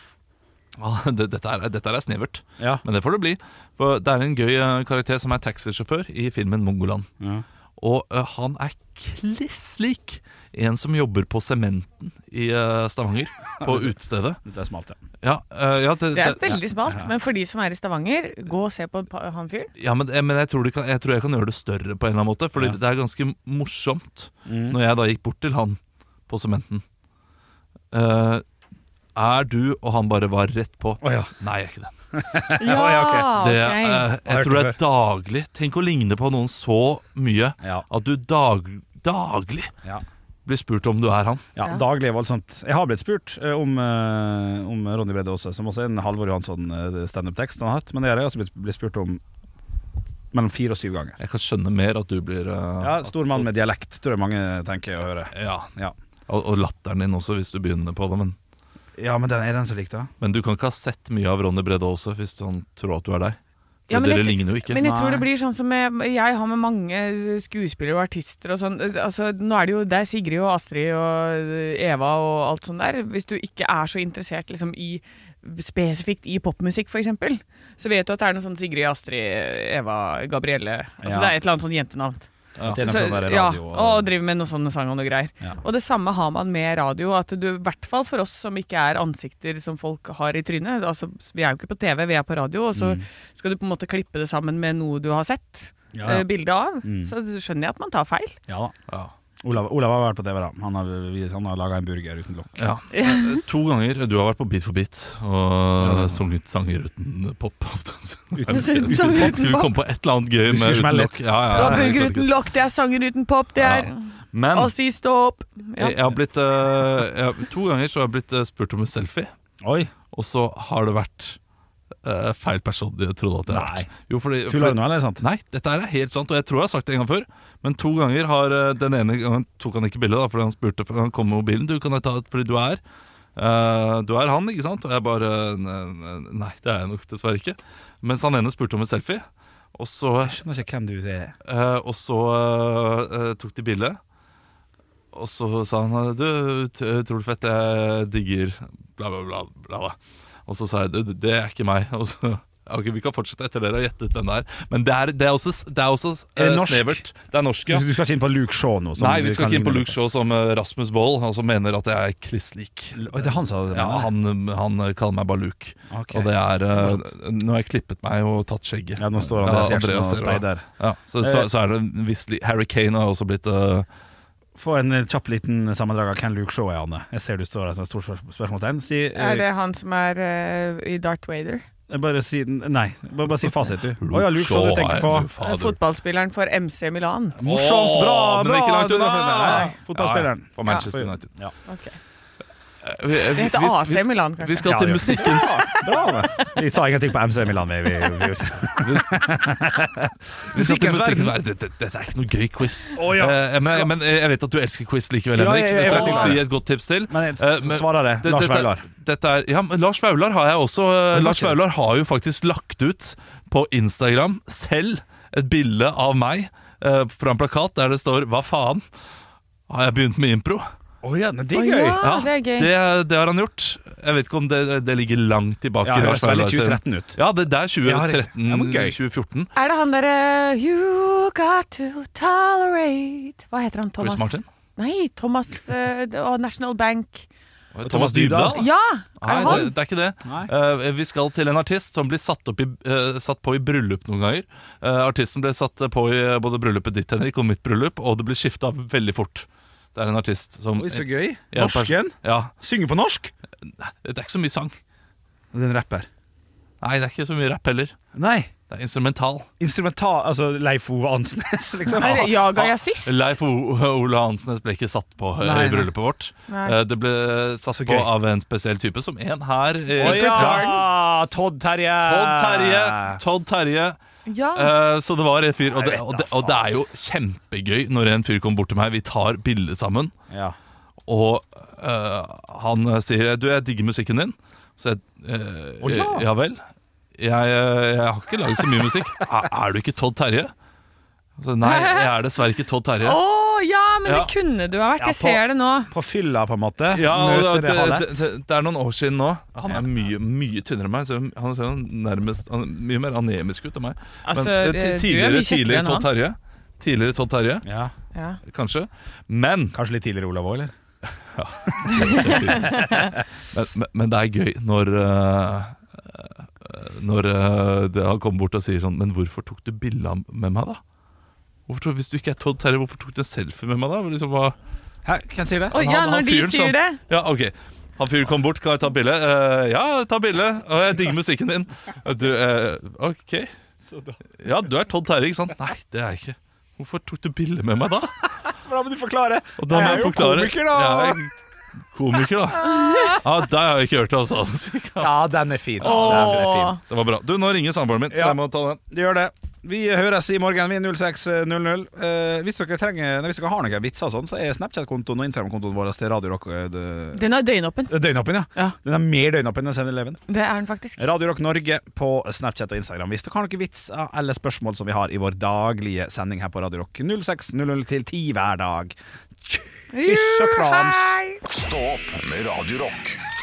[SPEAKER 5] Ah, det- dette er, dette er snevert,
[SPEAKER 6] Ja.
[SPEAKER 5] men det får det bli. For Det er en gøy eh, karakter som er taxisjåfør i filmen 'Mongoland'.
[SPEAKER 6] Ja.
[SPEAKER 5] Og eh, han er kliss lik en som jobber på Sementen i eh, Stavanger, på utestedet.
[SPEAKER 6] Det er smalt, ja.
[SPEAKER 5] Ja, eh, ja, det,
[SPEAKER 7] Det er
[SPEAKER 5] det-
[SPEAKER 7] veldig smalt, men for de som er i Stavanger, gå og se på pa- han fyren.
[SPEAKER 5] ja, men, eh, men jeg, tror det kan, jeg tror jeg kan gjøre det større på en eller annen måte. Fordi
[SPEAKER 6] Ja.
[SPEAKER 5] det er ganske morsomt
[SPEAKER 6] Mm.
[SPEAKER 5] når jeg da gikk bort til han på Sementen. Eh, er du Og han bare var rett på.
[SPEAKER 6] Å ja.
[SPEAKER 5] Nei, jeg er ikke det.
[SPEAKER 7] Ja!
[SPEAKER 5] det
[SPEAKER 7] ok.
[SPEAKER 5] eh, jeg
[SPEAKER 6] Hørte
[SPEAKER 5] tror det er
[SPEAKER 6] før.
[SPEAKER 5] daglig. Tenk å ligne på noen så mye
[SPEAKER 6] Ja.
[SPEAKER 5] at du dag, daglig
[SPEAKER 6] ja.
[SPEAKER 5] blir spurt om du er han.
[SPEAKER 6] Ja,
[SPEAKER 7] Ja.
[SPEAKER 6] daglig er voldsomt. Jeg har blitt spurt eh, om, eh, om Ronny Brede Aase, som også er en Halvor Johansson eh, standup-tekst han har hatt. Men det har jeg også blitt, blitt spurt om mellom fire og syv ganger.
[SPEAKER 5] Jeg kan skjønne mer at du blir eh,
[SPEAKER 6] Ja,
[SPEAKER 5] at-
[SPEAKER 6] Stor mann med dialekt, tror jeg mange tenker å høre.
[SPEAKER 5] Ja,
[SPEAKER 6] Ja,
[SPEAKER 5] og, og latteren din også, hvis du begynner på det. Men,
[SPEAKER 6] ja men den er den som likte det.
[SPEAKER 5] men du kan ikke ha sett mye av Ronny Brede også, hvis han tror at du er deg. For
[SPEAKER 7] Ja, men
[SPEAKER 5] dere
[SPEAKER 7] jeg-
[SPEAKER 5] ligner jo ikke.
[SPEAKER 7] Men jeg
[SPEAKER 6] Nei.
[SPEAKER 7] tror det blir sånn som jeg, jeg har med mange skuespillere og artister og sånn. Altså, nå er det jo det er Sigrid og Astrid og Eva og alt sånt der. Hvis du ikke er så interessert liksom, i spesifikt i popmusikk, f.eks., så vet du at det er noe sånn Sigrid, Astrid, Eva, Gabrielle Altså
[SPEAKER 6] Ja.
[SPEAKER 7] det er et eller annet sånn jentenavn.
[SPEAKER 6] Det er den
[SPEAKER 7] Så,
[SPEAKER 6] fra der
[SPEAKER 7] ja,
[SPEAKER 6] radio.
[SPEAKER 7] og driver med noe sånn sang og noe greier.
[SPEAKER 6] Ja.
[SPEAKER 7] Og det samme har man med radio. At du, I hvert fall for oss som ikke er ansikter som folk har i trynet. Altså, vi er jo ikke på TV, vi er på radio, og så
[SPEAKER 6] Mm.
[SPEAKER 7] skal du på en måte klippe det sammen med noe du har sett.
[SPEAKER 6] Ja,
[SPEAKER 7] eh,
[SPEAKER 6] ja.
[SPEAKER 7] Bilde av. Så skjønner jeg at man tar feil.
[SPEAKER 6] ja da.
[SPEAKER 5] Ja.
[SPEAKER 6] Olav, Olav har vært på TV, da. Han har, vi- han har laga en burger uten lokk.
[SPEAKER 5] Ja. Eh, To ganger. Du har vært på Beat for beat og sunget sanger uten pop.
[SPEAKER 7] Uten sanger uten
[SPEAKER 5] Skulle
[SPEAKER 7] pop.
[SPEAKER 5] komme på et eller annet gøy
[SPEAKER 6] Du skulle
[SPEAKER 5] med uten
[SPEAKER 6] smelle
[SPEAKER 5] lokk.
[SPEAKER 6] litt.
[SPEAKER 5] Ja, ja,
[SPEAKER 7] Du har
[SPEAKER 5] ja, jeg
[SPEAKER 7] burger
[SPEAKER 5] klarte
[SPEAKER 7] uten
[SPEAKER 5] ikke.
[SPEAKER 7] lokk, det er sanger uten pop, det er
[SPEAKER 5] Ja. Men Eh,
[SPEAKER 7] å si stopp. Ja.
[SPEAKER 5] jeg har blitt eh, jeg, To ganger så har jeg blitt eh, spurt om en selfie.
[SPEAKER 6] Oi.
[SPEAKER 5] og så har det vært eh, feil person de trodde at det har
[SPEAKER 6] Nei.
[SPEAKER 5] vært. Jo, fordi,
[SPEAKER 6] Tuller du nå, eller er det sant?
[SPEAKER 5] Nei, dette her er helt sant, og jeg tror jeg har sagt det en gang før. Men to ganger har eh, den ene gangen tok han ikke bildet, da, fordi han spurte for han kom med mobilen. Du kan jeg ta et fordi du er eh, Du er han, ikke sant? Og jeg bare Nei, nei, det er jeg nok dessverre ikke. Mens han ene spurte om et selfie, og så
[SPEAKER 6] Jeg skjønner ikke hvem du er.
[SPEAKER 5] Eh, og så eh, eh, tok de bilde. Og så sa han Du, ut- utrolig fett, jeg digger bla, bla, bla. bla, bla. Og så sa jeg det, det er ikke meg. Og så, «Ja, ok, Vi kan fortsette etter dere har gjettet hvem det er. Men det er, det er også, det er også eh,
[SPEAKER 6] Er det norsk?
[SPEAKER 5] snevert. Det er norsk, ja.
[SPEAKER 6] Du skal ikke inn på Luke Shaw nå? som
[SPEAKER 5] Nei,
[SPEAKER 6] du
[SPEAKER 5] vi skal
[SPEAKER 6] kan
[SPEAKER 5] ikke inn på
[SPEAKER 6] ligne
[SPEAKER 5] Luke Shaw som eh, Rasmus Wold, han som mener at jeg er kliss lik.
[SPEAKER 6] Oi, det er han som hadde det?
[SPEAKER 5] Ja, han, han kaller meg bare Luke.
[SPEAKER 6] Ok.
[SPEAKER 5] Og det er eh, Nå har jeg klippet meg og tatt skjegget.
[SPEAKER 6] Ja, nå står Andreas Gjertsen og
[SPEAKER 5] Andreas ser-
[SPEAKER 6] speider.
[SPEAKER 5] Ja, så, så,
[SPEAKER 6] Eh.
[SPEAKER 5] så er det en viss li- Harry Kane har også blitt eh,
[SPEAKER 6] Få en eh, kjapp liten sammendrag av hvem Luke Shaw er, Anne. Jeg ser du står her som et stort spør- spørsmålstegn. Si, eh,
[SPEAKER 7] Er det han som er eh, i Darth Vader?
[SPEAKER 6] Bare si Nei, bare, bare si fasit, du. Å ja, Luke Shaw du tenker på.
[SPEAKER 5] er- fader.
[SPEAKER 7] Eh, Fotballspilleren for MC Milan.
[SPEAKER 6] Morsomt! Bra!
[SPEAKER 5] Åh,
[SPEAKER 6] bra
[SPEAKER 5] men ikke langt
[SPEAKER 6] du,
[SPEAKER 5] unna.
[SPEAKER 6] Alfred. Nei,
[SPEAKER 5] Nei.
[SPEAKER 6] Fotballspilleren.
[SPEAKER 5] Ja, for Manchester
[SPEAKER 6] Ja.
[SPEAKER 5] United.
[SPEAKER 6] Ja.
[SPEAKER 7] Ok.
[SPEAKER 5] Vi- vi-
[SPEAKER 7] Det heter
[SPEAKER 5] vi-
[SPEAKER 7] AC
[SPEAKER 5] vi-
[SPEAKER 7] Milan, kanskje?
[SPEAKER 5] Vi skal
[SPEAKER 6] Ja,
[SPEAKER 5] til
[SPEAKER 6] det gjør
[SPEAKER 5] musikkens
[SPEAKER 6] Bra! Anne. Vi sa ingenting på MC Milan. Vi, vi, vi.
[SPEAKER 5] Vi skal til
[SPEAKER 6] Musikkens
[SPEAKER 5] musikkens
[SPEAKER 6] verden.
[SPEAKER 5] verden. Dette, dette er ikke noe gøy quiz.
[SPEAKER 6] Å, ja.
[SPEAKER 5] Eh, men, men jeg vet at du elsker quiz likevel,
[SPEAKER 6] Ja,
[SPEAKER 5] Henrik.
[SPEAKER 6] jeg- jeg-
[SPEAKER 5] så jeg
[SPEAKER 6] jeg-
[SPEAKER 5] kan gi et godt tips til.
[SPEAKER 6] Men jeg
[SPEAKER 5] Eh, men-
[SPEAKER 6] svarer det.
[SPEAKER 5] Det-
[SPEAKER 6] Lars
[SPEAKER 5] dette-
[SPEAKER 6] Vaular.
[SPEAKER 5] Dette er, ja, men Lars Vaular har jeg også. eh,
[SPEAKER 6] det
[SPEAKER 5] Lars
[SPEAKER 6] ikke det.
[SPEAKER 5] Vaular har jo faktisk lagt ut på Instagram selv et bilde av meg eh, fra en plakat der det står 'Hva faen'? Har jeg begynt med impro?
[SPEAKER 6] Å ja, men det
[SPEAKER 7] Å,
[SPEAKER 6] er gøy!
[SPEAKER 7] Ja, det er gøy.
[SPEAKER 5] Det, det har han gjort. Jeg vet ikke om det, det ligger langt tilbake.
[SPEAKER 6] Ja,
[SPEAKER 5] i
[SPEAKER 6] det
[SPEAKER 5] Lars
[SPEAKER 6] høres veldig
[SPEAKER 5] Vaular sin-
[SPEAKER 6] 2013 ut.
[SPEAKER 5] Ja, det, det er
[SPEAKER 6] Ja, det-
[SPEAKER 5] 2013,
[SPEAKER 6] ja, men gøy.
[SPEAKER 5] 2014.
[SPEAKER 7] Er det han derre You got to tolerate Hva heter han? Thomas?
[SPEAKER 5] Chris Martin?
[SPEAKER 7] Nei, Thomas eh, det- og National Bank.
[SPEAKER 5] Thomas Dybdahl?
[SPEAKER 7] Ja! Er
[SPEAKER 5] Nei,
[SPEAKER 7] det
[SPEAKER 5] det,
[SPEAKER 7] han?
[SPEAKER 5] Ah. det er ikke det.
[SPEAKER 6] Nei.
[SPEAKER 5] Eh, vi skal til en artist som blir satt, opp i, eh, satt på i bryllup noen ganger. Eh, artisten ble satt på i eh, både bryllupet ditt, Henrik, og mitt bryllup, og det ble skifta veldig fort. Det er en artist som
[SPEAKER 6] Oi, så gøy.
[SPEAKER 5] Ja, pers-
[SPEAKER 6] Norsken.
[SPEAKER 5] Ja.
[SPEAKER 6] Synger på norsk.
[SPEAKER 5] Det er ikke så mye sang.
[SPEAKER 6] Det er en rapper.
[SPEAKER 5] Nei, det er ikke så mye rapp heller.
[SPEAKER 6] Nei.
[SPEAKER 5] Det er instrumental.
[SPEAKER 6] Instrumental Altså Leif Ove Ansnes, liksom.
[SPEAKER 7] Er det Jaga jeg sist?
[SPEAKER 5] Leif O- Ole Hansnes ble ikke satt på eh,
[SPEAKER 6] Nei,
[SPEAKER 5] i bryllupet vårt.
[SPEAKER 7] Nei.
[SPEAKER 5] Eh, Det ble satt
[SPEAKER 6] Så
[SPEAKER 5] på
[SPEAKER 6] gøy.
[SPEAKER 5] av en spesiell type, som en her. eh,
[SPEAKER 6] Å
[SPEAKER 5] Garden.
[SPEAKER 6] ja! Todd Terje.
[SPEAKER 5] Todd Terje. Todd Terje.
[SPEAKER 7] Ja.
[SPEAKER 5] Eh, Så det var en fyr, og det,
[SPEAKER 6] Jeg vet
[SPEAKER 5] og,
[SPEAKER 6] da
[SPEAKER 5] det, og det er jo kjempegøy når en fyr kommer bort til meg. Vi tar bilde sammen,
[SPEAKER 6] Ja.
[SPEAKER 5] og eh, han sier 'Du, jeg digger musikken din'. Så jeg eh,
[SPEAKER 6] Å, ja.
[SPEAKER 5] ja vel. Jeg, eh, jeg har ikke laget så mye musikk. Er, er du ikke Todd Terje? Så, Nei, jeg er dessverre ikke Todd Terje.
[SPEAKER 7] Å ja, men det
[SPEAKER 5] Ja.
[SPEAKER 7] kunne du ha vært.
[SPEAKER 6] Ja,
[SPEAKER 7] Jeg
[SPEAKER 6] på-
[SPEAKER 7] ser det nå.
[SPEAKER 6] På fylla, på en måte.
[SPEAKER 5] Ja, og
[SPEAKER 6] Møter
[SPEAKER 5] det,
[SPEAKER 6] Hallett.
[SPEAKER 5] det, det, det er noen år siden nå. Han er mye, mye tynnere enn meg. Så han ser jo nærmest han er mye mer anemisk ut enn meg.
[SPEAKER 7] Altså,
[SPEAKER 5] Men, eh, ti-
[SPEAKER 7] eh, du
[SPEAKER 5] tidligere,
[SPEAKER 7] er mye kjekkere
[SPEAKER 5] tidligere
[SPEAKER 7] enn
[SPEAKER 5] Todd Terje. Tidligere Todd Terje,
[SPEAKER 6] Ja.
[SPEAKER 7] Ja.
[SPEAKER 5] kanskje. Men,
[SPEAKER 6] Kanskje litt tidligere Olav òg, eller?
[SPEAKER 5] men, men- men det er gøy når eh, eh, Når eh, det han kommer bort og sier sånn Men hvorfor tok du bilde av- med meg, da? Hvorfor, tok- hvis du ikke er Todd Terje, hvorfor tok du en selfie med meg da? Liksom, hva,
[SPEAKER 6] Hæ, hvem sier det?
[SPEAKER 7] Å ja,
[SPEAKER 5] han- han
[SPEAKER 7] når de
[SPEAKER 5] fyren som-
[SPEAKER 7] sier det.
[SPEAKER 5] Ja, ok Han fyren kom bort, kan jeg ta bilde? Eh, ja, ta bilde, og jeg digger musikken din Du, eh, ok Ja, du er Todd Terje, ikke sant? Nei, det er jeg ikke Hvorfor tok du bilde med meg da?
[SPEAKER 6] Hvordan må du forklare?
[SPEAKER 5] Og da må
[SPEAKER 6] Jeg er jo
[SPEAKER 5] forklare-
[SPEAKER 6] komiker, da.
[SPEAKER 5] Jeg er komiker da Ja, det har jeg ikke hørt av altså.
[SPEAKER 6] Ja, den er fin. Den er
[SPEAKER 7] Åh.
[SPEAKER 6] fin.
[SPEAKER 5] Det var bra Du, nå ringer samboeren min, så
[SPEAKER 6] Ja.
[SPEAKER 5] jeg må ta den
[SPEAKER 6] Det gjør det. Vi høres i morgen, vi er 06.00. Eh, hvis, dere trenger, nei, hvis dere har noen vitser og sånn, så er Snapchat-kontoen og Instagram-kontoen vår til Radio Rock eh, det-
[SPEAKER 7] Den er døgnåpen.
[SPEAKER 6] Døgnåpen, ja.
[SPEAKER 7] Ja.
[SPEAKER 6] Den er mer døgnåpen enn 7-Eleven.
[SPEAKER 7] Det er den faktisk.
[SPEAKER 6] Radio Rock Norge på Snapchat og Instagram. Hvis dere har noen vitser eller spørsmål som vi har i vår daglige sending her på Radio Rock 06.00 til 10 hver dag. Hysj og krams.
[SPEAKER 7] Hei!
[SPEAKER 4] Stå opp med Radio Rock.